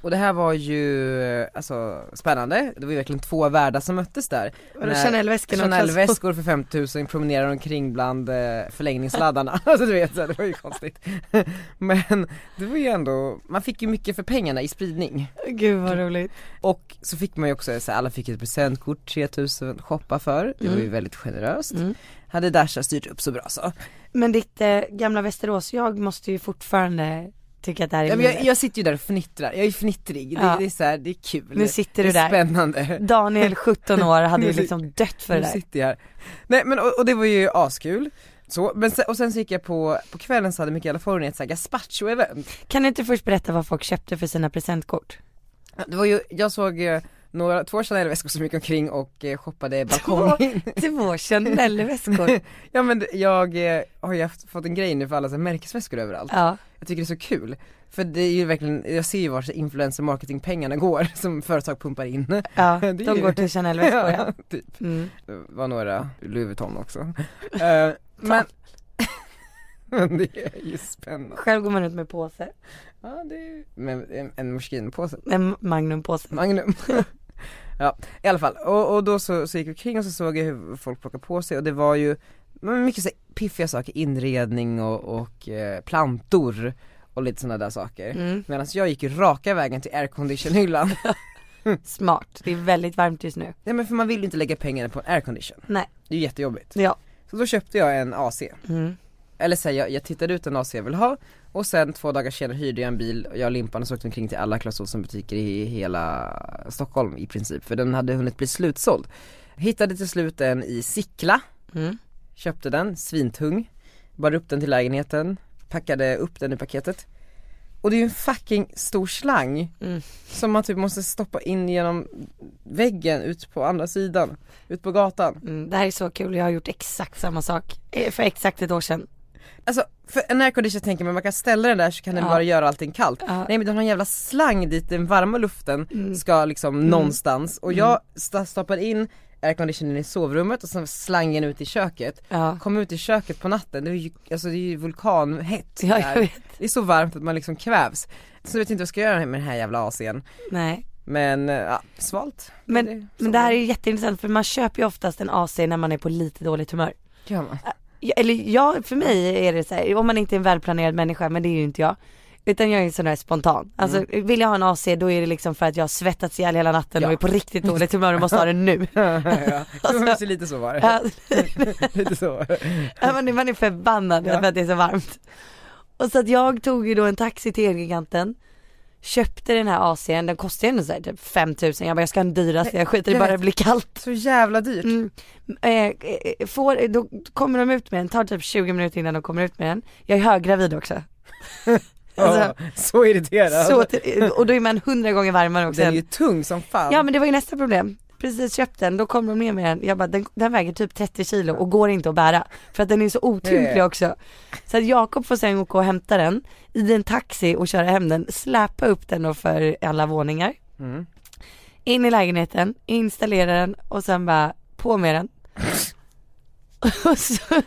Och det här var ju eh, alltså spännande, det var ju verkligen två världar som möttes där. Vadå, När- Chanel-väskorna och Clas Ohlson? Chanel-väskor väskor för 5000 promenerar omkring bland eh, förlängningsladdarna. alltså du vet, så här, det var ju konstigt. Men det var ju ändå, man fick ju mycket för pengarna i spridning. gud vad roligt. Och så fick man ju också, så här, alla fick ett presentkort, 3000 shoppa för. Det var ju Mm. väldigt generöst. Mm. Hade Dasha styrt upp så bra så. Men ditt eh, gamla Västerås, jag måste ju fortfarande tycka att det här är Ja, men jag, mingel. jag sitter ju där och fnittrar, jag är ju fnittrig. Det, Ja. det är så här, det är kul. Nu sitter det du är där. spännande. Daniel 17 år hade ju Nu sit- liksom dött för det nu där. sitter jag här. Nej men och, och det var ju askul. Så, men sen, och sen så gick jag på, på kvällen så hade Mikaela Forni ett så här gazpacho-event. Kan du inte först berätta vad folk köpte för sina presentkort? Det var ju, jag såg eh, några, två Chanel-väskor som gick omkring och eh, shoppade balkong. Två Chanel-väskor. ja men jag eh, har ju haft, fått en grej nu för alla så här märkesväskor överallt. Ja. Jag tycker det är så kul. För det är ju verkligen, jag ser ju vart influencer marketing-pengarna går som företag pumpar in. Ja, Det är de ju- går till Chanel-väskor ja. typ. Mm. Det var några Louis Vuitton också. Eh, men, men det är ju spännande. Själv går man ut med påse, Ja, det är, med en, en morskinpåse. en Magnum-påse. Magnum. ja, i alla fall. Och, och då så, så gick vi kring och så såg jag hur folk plockade på sig och det var ju men mycket så här piffiga saker, inredning och, och eh, plantor och lite sådana där saker. Mm. Medan jag gick ju raka vägen till aircondition-hyllan. Smart, det är väldigt varmt just nu. Nej men för man vill ju inte lägga pengarna på en aircondition. Nej. Det är ju jättejobbigt. Ja. Så då köpte jag en AC. Mm. Eller så här, jag, jag tittade ut en AC jag vill ha och sen två dagar senare hyrde jag en bil och jag och Limpan och så åkte omkring till alla Clas Ohlson butiker i hela Stockholm i princip för den hade hunnit bli slutsåld. Hittade till slut en i Sickla, Mm. köpte den, svintung, bar upp den till lägenheten, packade upp den i paketet. Och det är ju en fucking stor slang Mm. som man typ måste stoppa in genom väggen ut på andra sidan, ut på gatan. Mm. Det här är så kul, jag har gjort exakt samma sak eh, för exakt ett år sedan. Alltså för en aircondition tänker man man kan ställa den där så kan den Ja. bara göra allting kallt. Ja. Mm. Nej men den har en jävla slang dit den varma luften ska liksom någonstans och jag sta- stoppar in airconditionen i sovrummet och sen slangen ut i köket. Ja. Kom ut i köket på natten, det är ju, alltså det är ju vulkanhett Ja, jag där. vet. Det är så varmt att man liksom kvävs. Så jag vet inte vad jag ska göra med den här jävla AC'n. Nej. Men eh, ja, svalt. Men det, det, men det här är ju jätteintressant för man köper ju oftast en AC när man är på lite dåligt humör. gör man. Ja, Eller jag, för mig är det så här, om man inte är en välplanerad människa, men det är ju inte jag. Utan jag är en sån där spontan. Alltså Mm. vill jag ha en AC då är det liksom för att jag har svettats ihjäl hela natten och är på riktigt dåligt humör och måste ha den nu. ja, det var Alltså- lite så var det. Ja, lite så var det. Ja, man, är, man är förbannad för att det är så varmt. Och så att jag tog ju då en taxi till Elgiganten, köpte den här AC'n, den kostade ju ändå såhär typ 5000, jag bara jag ska ha den dyraste, jag skiter i Jag bara vet. det blir kallt. Så jävla dyrt. Mm. Eh, eh, får, då kommer de ut med den, tar typ 20 minuter innan de kommer ut med den. Jag är höggravid också. Alltså, Ja, så irriterad. Så, till- och då är man hundra gånger varmare också. Den är ju tung som fan. Ja men det var ju nästa problem. Precis köpt den, då kom de ner med den. Jag bara, den, den väger typ 30 kilo och går inte att bära. För att den är så otymplig Ja. också. Så att Jakob får sen åka och hämta den i en taxi och köra hem den, släpa upp den då för alla våningar. Mm. In i lägenheten, installera den och sen bara, på med den. och så,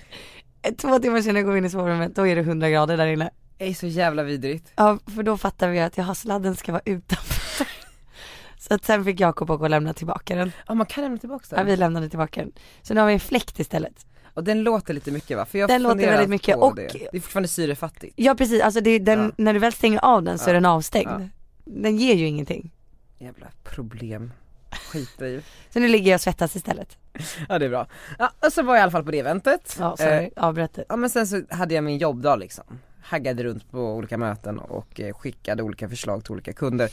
två timmar senare går vi in i sovrummet, då är det 100 grader där inne. Det är så jävla vidrigt. Ja, för då fattar vi att jag har sladden ska vara utanför. Så att sen fick Jakob åka och lämna tillbaka den. Ja man kan lämna tillbaka den? Ja vi lämnade tillbaka den. Så nu har vi en fläkt istället. Och den låter lite mycket va? För jag Den låter funderar väldigt mycket på och- det. det är fortfarande syrefattigt. Ja precis, alltså det, är den, Ja. när du väl stänger av den så Ja. är den avstängd. Ja. Den ger ju ingenting. Jävla problem. Skitdriv. Så nu ligger jag och svettas istället. Ja det är bra. Ja, och så var jag i alla fall på det eventet. Eh, Ja, sorry, avbröt Ja men sen så hade jag min jobbdag liksom. Haggade runt på olika möten och eh, skickade olika förslag till olika kunder.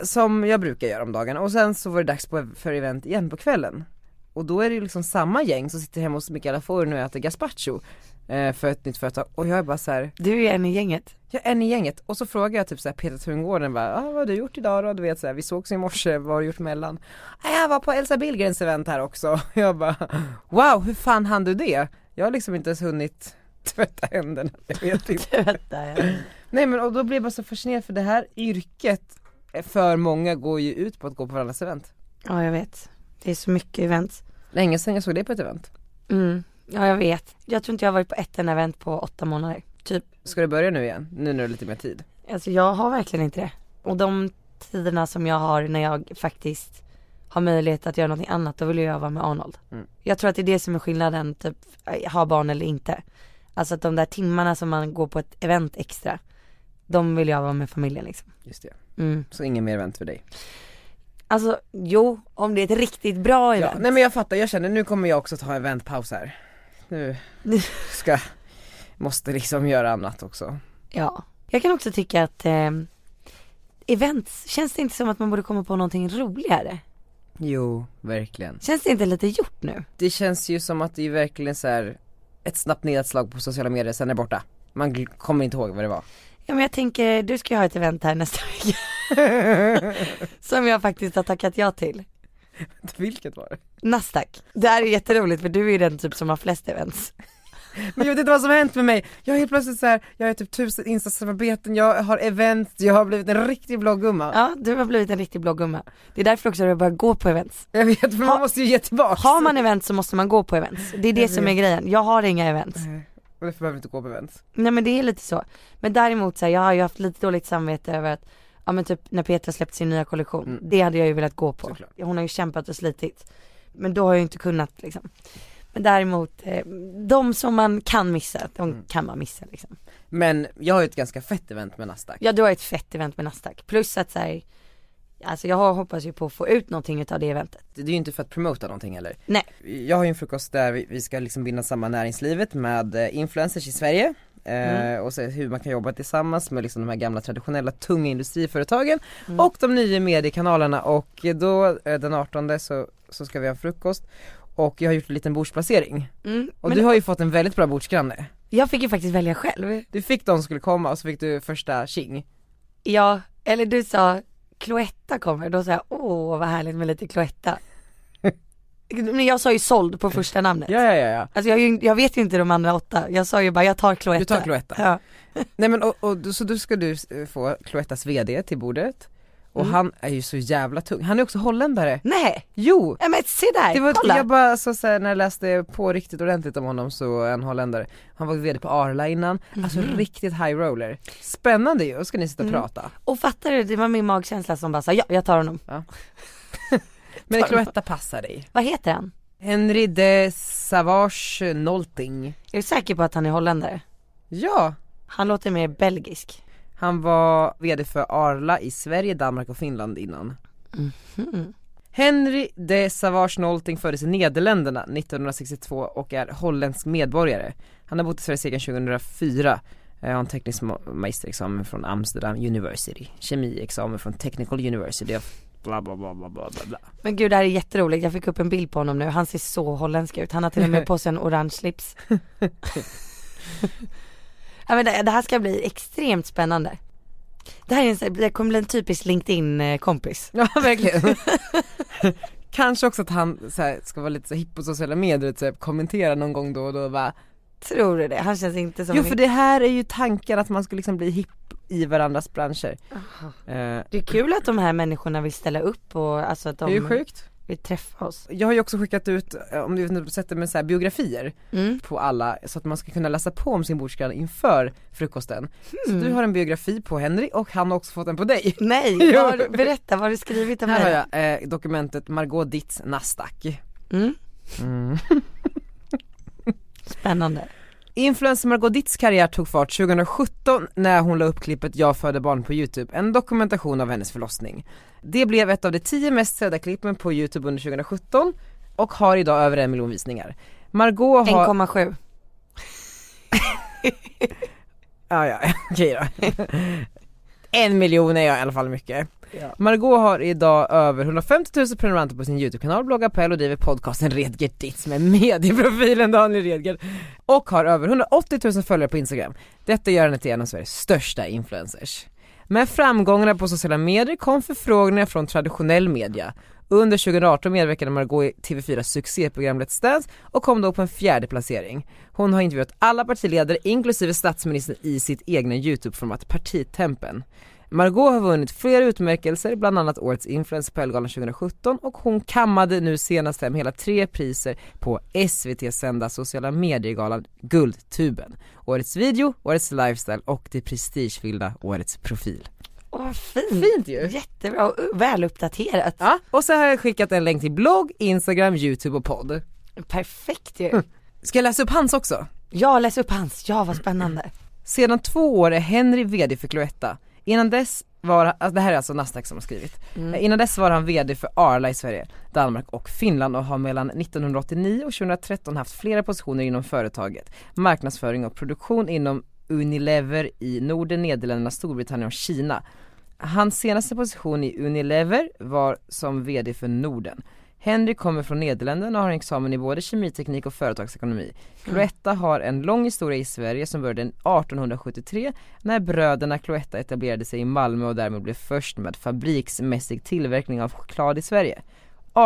Som jag brukar göra om dagen och sen så var det dags på, för event igen på kvällen. Och då är det ju liksom samma gäng som sitter hemma hos Mikaela Forn och äter gazpacho. eh, För ett nytt företag och jag är bara så här. Du är en i gänget. Jag är en i gänget och så frågar jag typ såhär Peter Tungården bara, ah, vad har du gjort idag då? Du vet såhär, vi sågs i morse, vad har du gjort mellan? Ah, jag var på Elsa Billgrens event här också. Jag bara, wow hur fan hann du det? Jag har liksom inte ens hunnit tvätta händerna, jag vet inte. Nej men och då blir jag bara så fascinerad för det här yrket eh, för många går ju ut på att gå på varandras event. Ja jag vet. Det är så mycket event. Länge sedan jag såg det på ett event. Mm. Ja jag vet. Jag tror inte jag har varit på ett enda event på åtta månader. Typ. Ska du börja nu igen? Nu när du har lite mer tid? Alltså jag har verkligen inte det. Och de tiderna som jag har när jag faktiskt har möjlighet att göra någonting annat, då vill jag vara med Arnold. Mm. Jag tror att det är det som är skillnaden, typ ha barn eller inte. Alltså att de där timmarna som man går på ett event extra, de vill jag vara med familjen liksom. Just det. Mm. Så ingen mer event för dig? Alltså jo, om det är ett riktigt Ja, bra event. nej men jag fattar, jag känner nu kommer jag också ta en väntpaus här. Nu ska, måste liksom göra annat också. Ja. Jag kan också tycka att eh, events, känns det inte som att man borde komma på någonting roligare? Jo, verkligen. Känns det inte lite gjort nu? Det känns ju som att det är verkligen så här ett snabbt nedslag på sociala medier, sen är det borta. Man gl- kommer inte ihåg vad det var. Ja men jag tänker, du ska ju ha ett event här nästa vecka. som jag faktiskt har tackat ja till. Vilket var det? Nasdaq. Det här är jätteroligt för du är ju den typ som har flest events. Men jag vet inte vad som har hänt med mig. Jag är helt plötsligt så här, jag har typ tusen insta-samarbeten, jag har event, jag har blivit en riktig bloggumma. Ja, du har blivit en riktig bloggumma. Det är därför också du har börjat gå på events. Jag vet, för man måste ju ge tillbaka. Har man event så måste man gå på events. Det är det Jag som är vet. grejen. Jag har inga events. Och därför behöver vi inte gå på event. Nej men det är lite så. Men däremot så här, jag har ju haft lite dåligt samvete över att, ja men typ när Petra släppte sin nya kollektion, Mm. det hade jag ju velat gå på. Hon har ju kämpat och slitit. Men då har jag ju inte kunnat liksom. Men däremot, eh, de som man kan missa, de Mm. kan man missa liksom. Men jag har ju ett ganska fett event med Nasdaq. Ja du har ett fett event med Nasdaq. Plus att så här, alltså jag hoppas ju på att få ut någonting utav det eventet. Det är ju inte för att promota någonting heller. Nej. Jag har ju en frukost där vi vi ska liksom binda samman näringslivet med eh, influencers i Sverige eh, Mm. och se hur man kan jobba tillsammans med liksom de här gamla traditionella tunga industriföretagen och de nya mediekanalerna och eh, då eh, den 18 så, så ska vi ha en frukost och jag har gjort en liten bordsplacering. Mm, Och men du har ju fått en väldigt bra bordsgranne. Jag fick ju faktiskt välja själv. Du fick de som skulle komma och så fick du första tjing. Ja, eller du sa Cloetta kommer, då sa jag åh vad härligt med lite Cloetta. Men jag sa ju såld på första namnet. Ja, ja, ja, ja. Alltså jag, är ju- jag vet ju inte de andra åtta, jag sa ju bara jag tar Cloetta. Du tar Cloetta. Ja. Nej men och, och, då- så då ska du eh, få Cloettas VD till bordet och Mm. han är ju så jävla tung, han är också holländare. Nej! Jo! Ja, men se där, Det var, kolla. jag bara alltså, så såhär, när jag läste på riktigt ordentligt om honom så är han holländare. Han var VD på Arla innan, alltså Mhm. riktigt high roller. Spännande ju, och ska ni sitta och Mm. prata. Och fattar du, det var min magkänsla som bara sa ja, jag tar honom. Men Tar honom. Cloetta passar dig. Vad heter han? Henry de Savage Nolting. Är du säker på att han är holländare? Ja! Han låter mer belgisk. Han var VD för Arla i Sverige, Danmark och Finland innan. Mhm. Henry de Savage Nolting föddes i Nederländerna 1962 och är holländsk medborgare. Han har bott i Sverige sedan 2004. Eh, Har en teknisk ma- magisterexamen från Amsterdam University, kemiexamen från Technical University of bla bla bla bla bla bla bla. Men gud det här är jätteroligt, jag fick upp en bild på honom nu, han ser så holländsk ut. Han har till och med på sig en orange slips. ja, men det, det här ska bli extremt spännande. Det här är en, sån- det kommer bli en typisk LinkedIn-kompis. Ja verkligen. Kanske också att han så här, ska vara lite så hipp på sociala medier, och så här, kommentera någon gång då och då och bara Tror du det? Han känns inte som Jo en- för det här är ju tanken att man ska liksom bli hipp i varandras branscher. Aha. Eh, Det är kul att de här människorna vill ställa upp och alltså att de Det är ju sjukt. vill träffa oss. Jag har ju också skickat ut, eh, om du vet inte sättet med så här biografier Mm. på alla så att man ska kunna läsa på om sin bordsgranne inför frukosten. Mm. Så du har en biografi på Henry och han har också fått en på dig. Nej, Jo. vad har du- berätta vad har du skrivit om Här har mig? jag eh, dokumentet Margot Ditts Nasdaq. Mm. Mm. Spännande. Influencer Margot Ditts karriär tog fart 2017 när hon la upp klippet Jag föder barn på Youtube, en dokumentation av hennes förlossning. Det blev ett av de tio mest sedda klippen på Youtube under 2017 och har idag över en miljon visningar. Margot har... 1,7. Ja, ja, okej då. En miljon är jag i alla fall mycket. Margot har idag över 150 000 prenumeranter på sin YouTube-kanal, bloggar på Elle och driver podcasten Redgert Ditz med medieprofilen Daniel Redgert och har över 180 000 följare på Instagram. Detta gör henne till en av Sveriges största influencers. Med framgångarna på sociala medier kom förfrågningar från traditionell media. Under 2018 medverkade Margot i TV4 succéprogram Let's Dance och kom då på en fjärde placering. Hon har intervjuat alla partiledare inklusive statsministern i sitt egna YouTube-format Partitempen. Margot har vunnit flera utmärkelser, bland annat årets influencer på Ellegalan 2017 och hon kammade nu senast hem hela tre priser på SVT-sända sociala mediegalan Guldtuben. Årets video, årets lifestyle och det prestigefyllda årets profil. Åh, vad fint. Fint ju! Jättebra och väl uppdaterat. Ja, och så har jag skickat en länk till blogg, Instagram, Youtube och podd. Perfekt ju. Ska jag läsa upp hans också? Ja, läs upp hans. Ja, vad spännande. Sedan två år är Henry VD för Cloetta. Innan dess var, alltså det här är alltså Nasdaq som har skrivit. Mm. Innan dess var han VD för Arla i Sverige, Danmark och Finland och har mellan 1989 och 2013 haft flera positioner inom företaget. Marknadsföring och produktion inom Unilever i Norden, Nederländerna, Storbritannien och Kina. Hans senaste position i Unilever var som VD för Norden. Henry kommer från Nederländerna och har en examen i både kemiteknik och företagsekonomi. Cloetta har en lång historia i Sverige som började 1873 när bröderna Cloetta etablerade sig i Malmö och därmed blev först med fabriksmässig tillverkning av choklad i Sverige.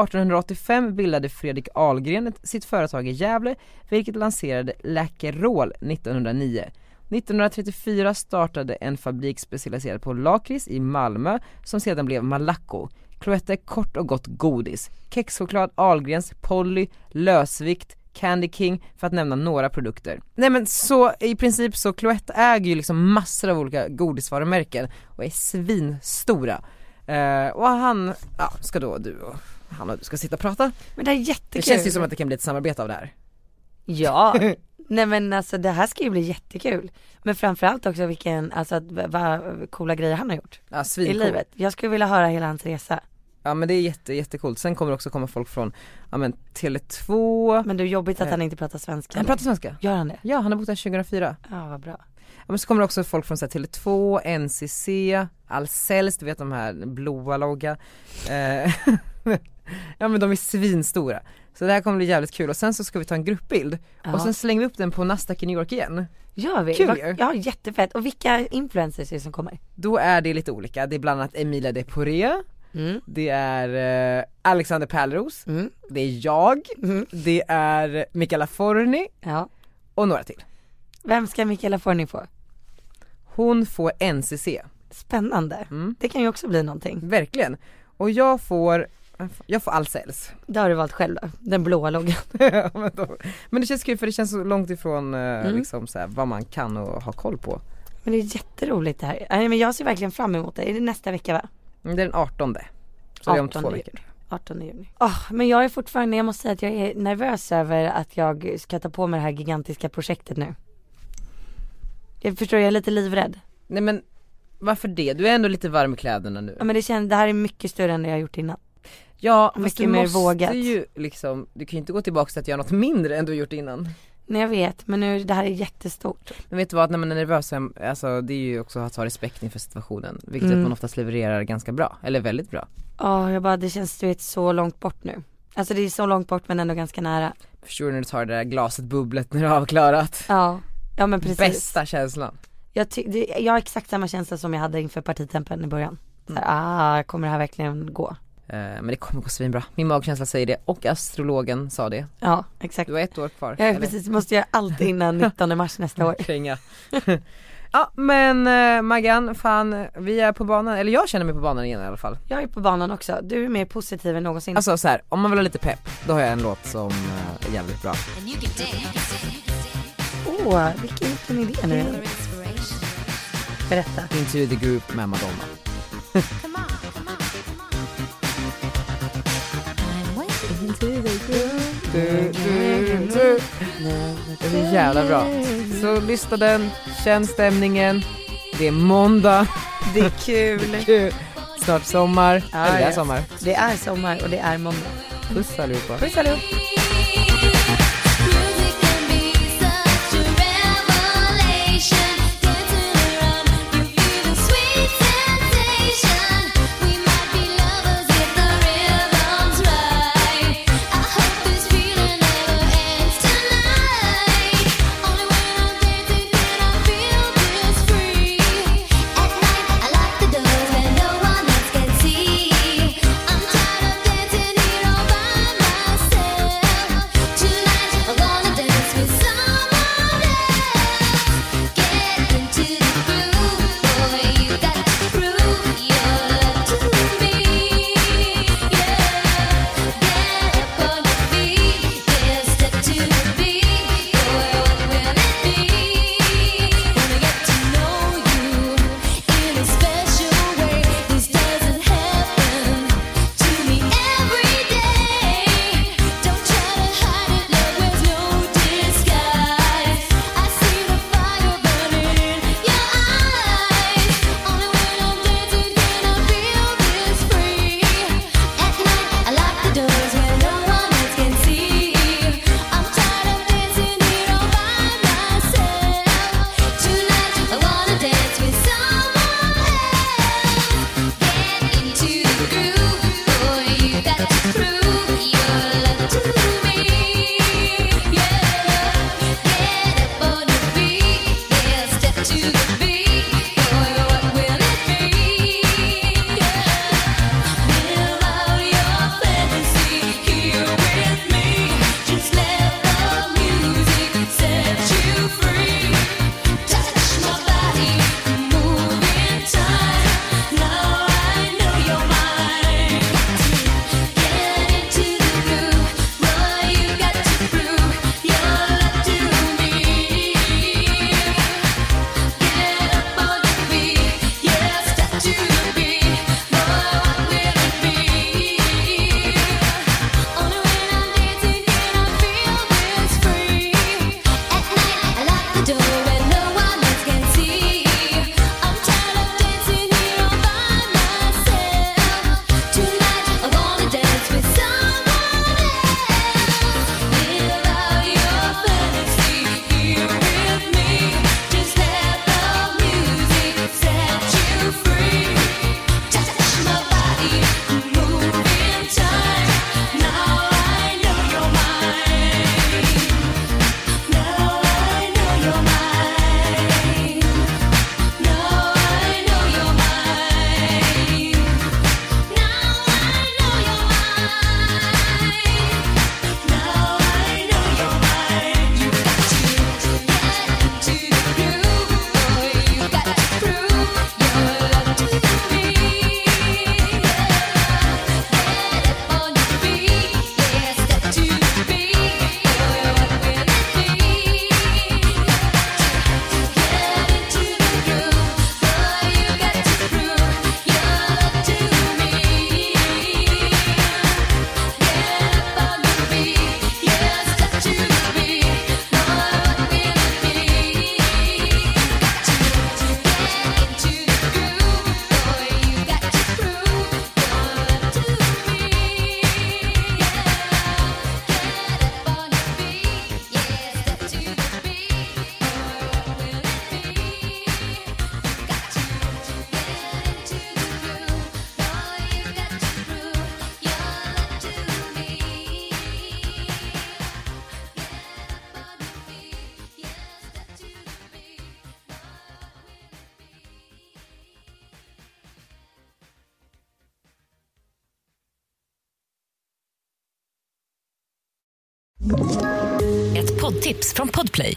1885 bildade Fredrik Ahlgren ett- sitt företag i Gävle vilket lanserade Läkerol 1909. 1934 startade en fabrik specialiserad på lakrits i Malmö som sedan blev Malaco. Cloetta är kort och gott godis. Kexchoklad, Ahlgrens, Polly, lösvikt, Candy King för att nämna några produkter. Nej men så i princip så Cloetta äger ju liksom massor av olika godisvarumärken och är svinstora. Eh, och han, ja ska då du och han och du ska sitta och prata. Men det är jättekul. Det känns ju som att det kan bli ett samarbete av det här. Ja, nej men alltså det här ska ju bli jättekul. Men framförallt också vilken, alltså att- vad coola grejer han har gjort. Ja, I svincool. livet. Jag skulle vilja höra hela hans resa. Ja men det är jätte, jättecoolt. Sen kommer det också komma folk från, ja men Tele2. Men det är jobbigt att Eh. han inte pratar svenska. Han pratar svenska. Gör han det? Ja han har bott här 2004. Ja, vad bra. Ja men så kommer det också folk från så här, Tele2, NCC, Ahlsells, du vet de här blåa logga. Eh, ja men de är svinstora. Så det här kommer bli jävligt kul och sen så ska vi ta en gruppbild Ja. och sen slänger vi upp den på Nasdaq i New York igen. Gör vi? Kul Vad- ju. Ja, jättefett. Och vilka influencers är det som kommer? Då är det lite olika, det är bland annat Emilia de Poré, Mm. det är eh, Alexander Pärleros, Mm. det är jag, Mm. det är Mikaela Forni Ja. och några till. Vem ska Mikaela Forni få? Hon får NCC, Spännande. Mm. Det kan ju också bli någonting. verkligen. Och jag får, jag får Ahlsells. Det har du valt själv då. Den blåa loggan. Ja, men då- men det känns kul för det känns så långt ifrån eh, Mm. liksom så här, vad man kan och ha koll på. Men det är jätteroligt det här. Nej men jag ser verkligen fram emot det. Är det nästa vecka va? Mm, Det är den 18 så det är om två 18 juni. veckor. 18 juni. Ah, men jag är fortfarande, jag måste säga att jag är nervös över att jag ska ta på mig det här gigantiska projektet nu. Jag förstår, jag är lite livrädd. Nej men varför det? Du är ändå lite varm i kläderna nu. Ja men det känns, det här är mycket större än det jag har gjort innan. Ja men mycket du mer måste vågat. ju liksom, du kan ju inte gå tillbaka till att göra något mindre än du gjort innan. Nej jag vet, men nu, det här är jättestort. Men vet du vad, när man är nervös, så är- alltså det är ju också att ha respekt inför situationen. Vilket Mm. att man oftast levererar ganska bra, eller väldigt bra. Ja, Ah, jag bara, det känns du vet så långt bort nu. Alltså det är så långt bort men ändå ganska nära. Förstår du när du tar det där glaset bubblet när du har avklarat? Ja, ja men precis. Bästa känslan. Jag, ty- det, jag har exakt samma känsla som jag hade inför partitempen i början. Så Mm. här, ah, kommer det här verkligen gå? Eh, Men det kommer gå svinbra. Min magkänsla säger det och astrologen sa det. Ja, exakt. Du har ett år kvar. Jag är eller? precis, måste göra allt innan 19 mars nästa år. Kränga. Ja men eh, Maggan, fan vi är på banan, eller jag känner mig på banan igen i alla fall. Jag är på banan också, du är mer positiv än någonsin. Alltså så här, om man vill ha lite pepp, då har jag en låt som eh, är jävligt bra. Åh, oh, vilken, vilken idé nu igen. Berätta. Into the group med Madonna. Du, du, du. Det är så jävla bra. Så lyssna den, känn stämningen. Det är måndag, Det är kul. kul. snart sommar. Ja, eller det är ja. sommar. Det är sommar och det är måndag. Puss allihopa. Puss allihop. I'm tired of dancing here all by myself. Ett poddtips från Podplay.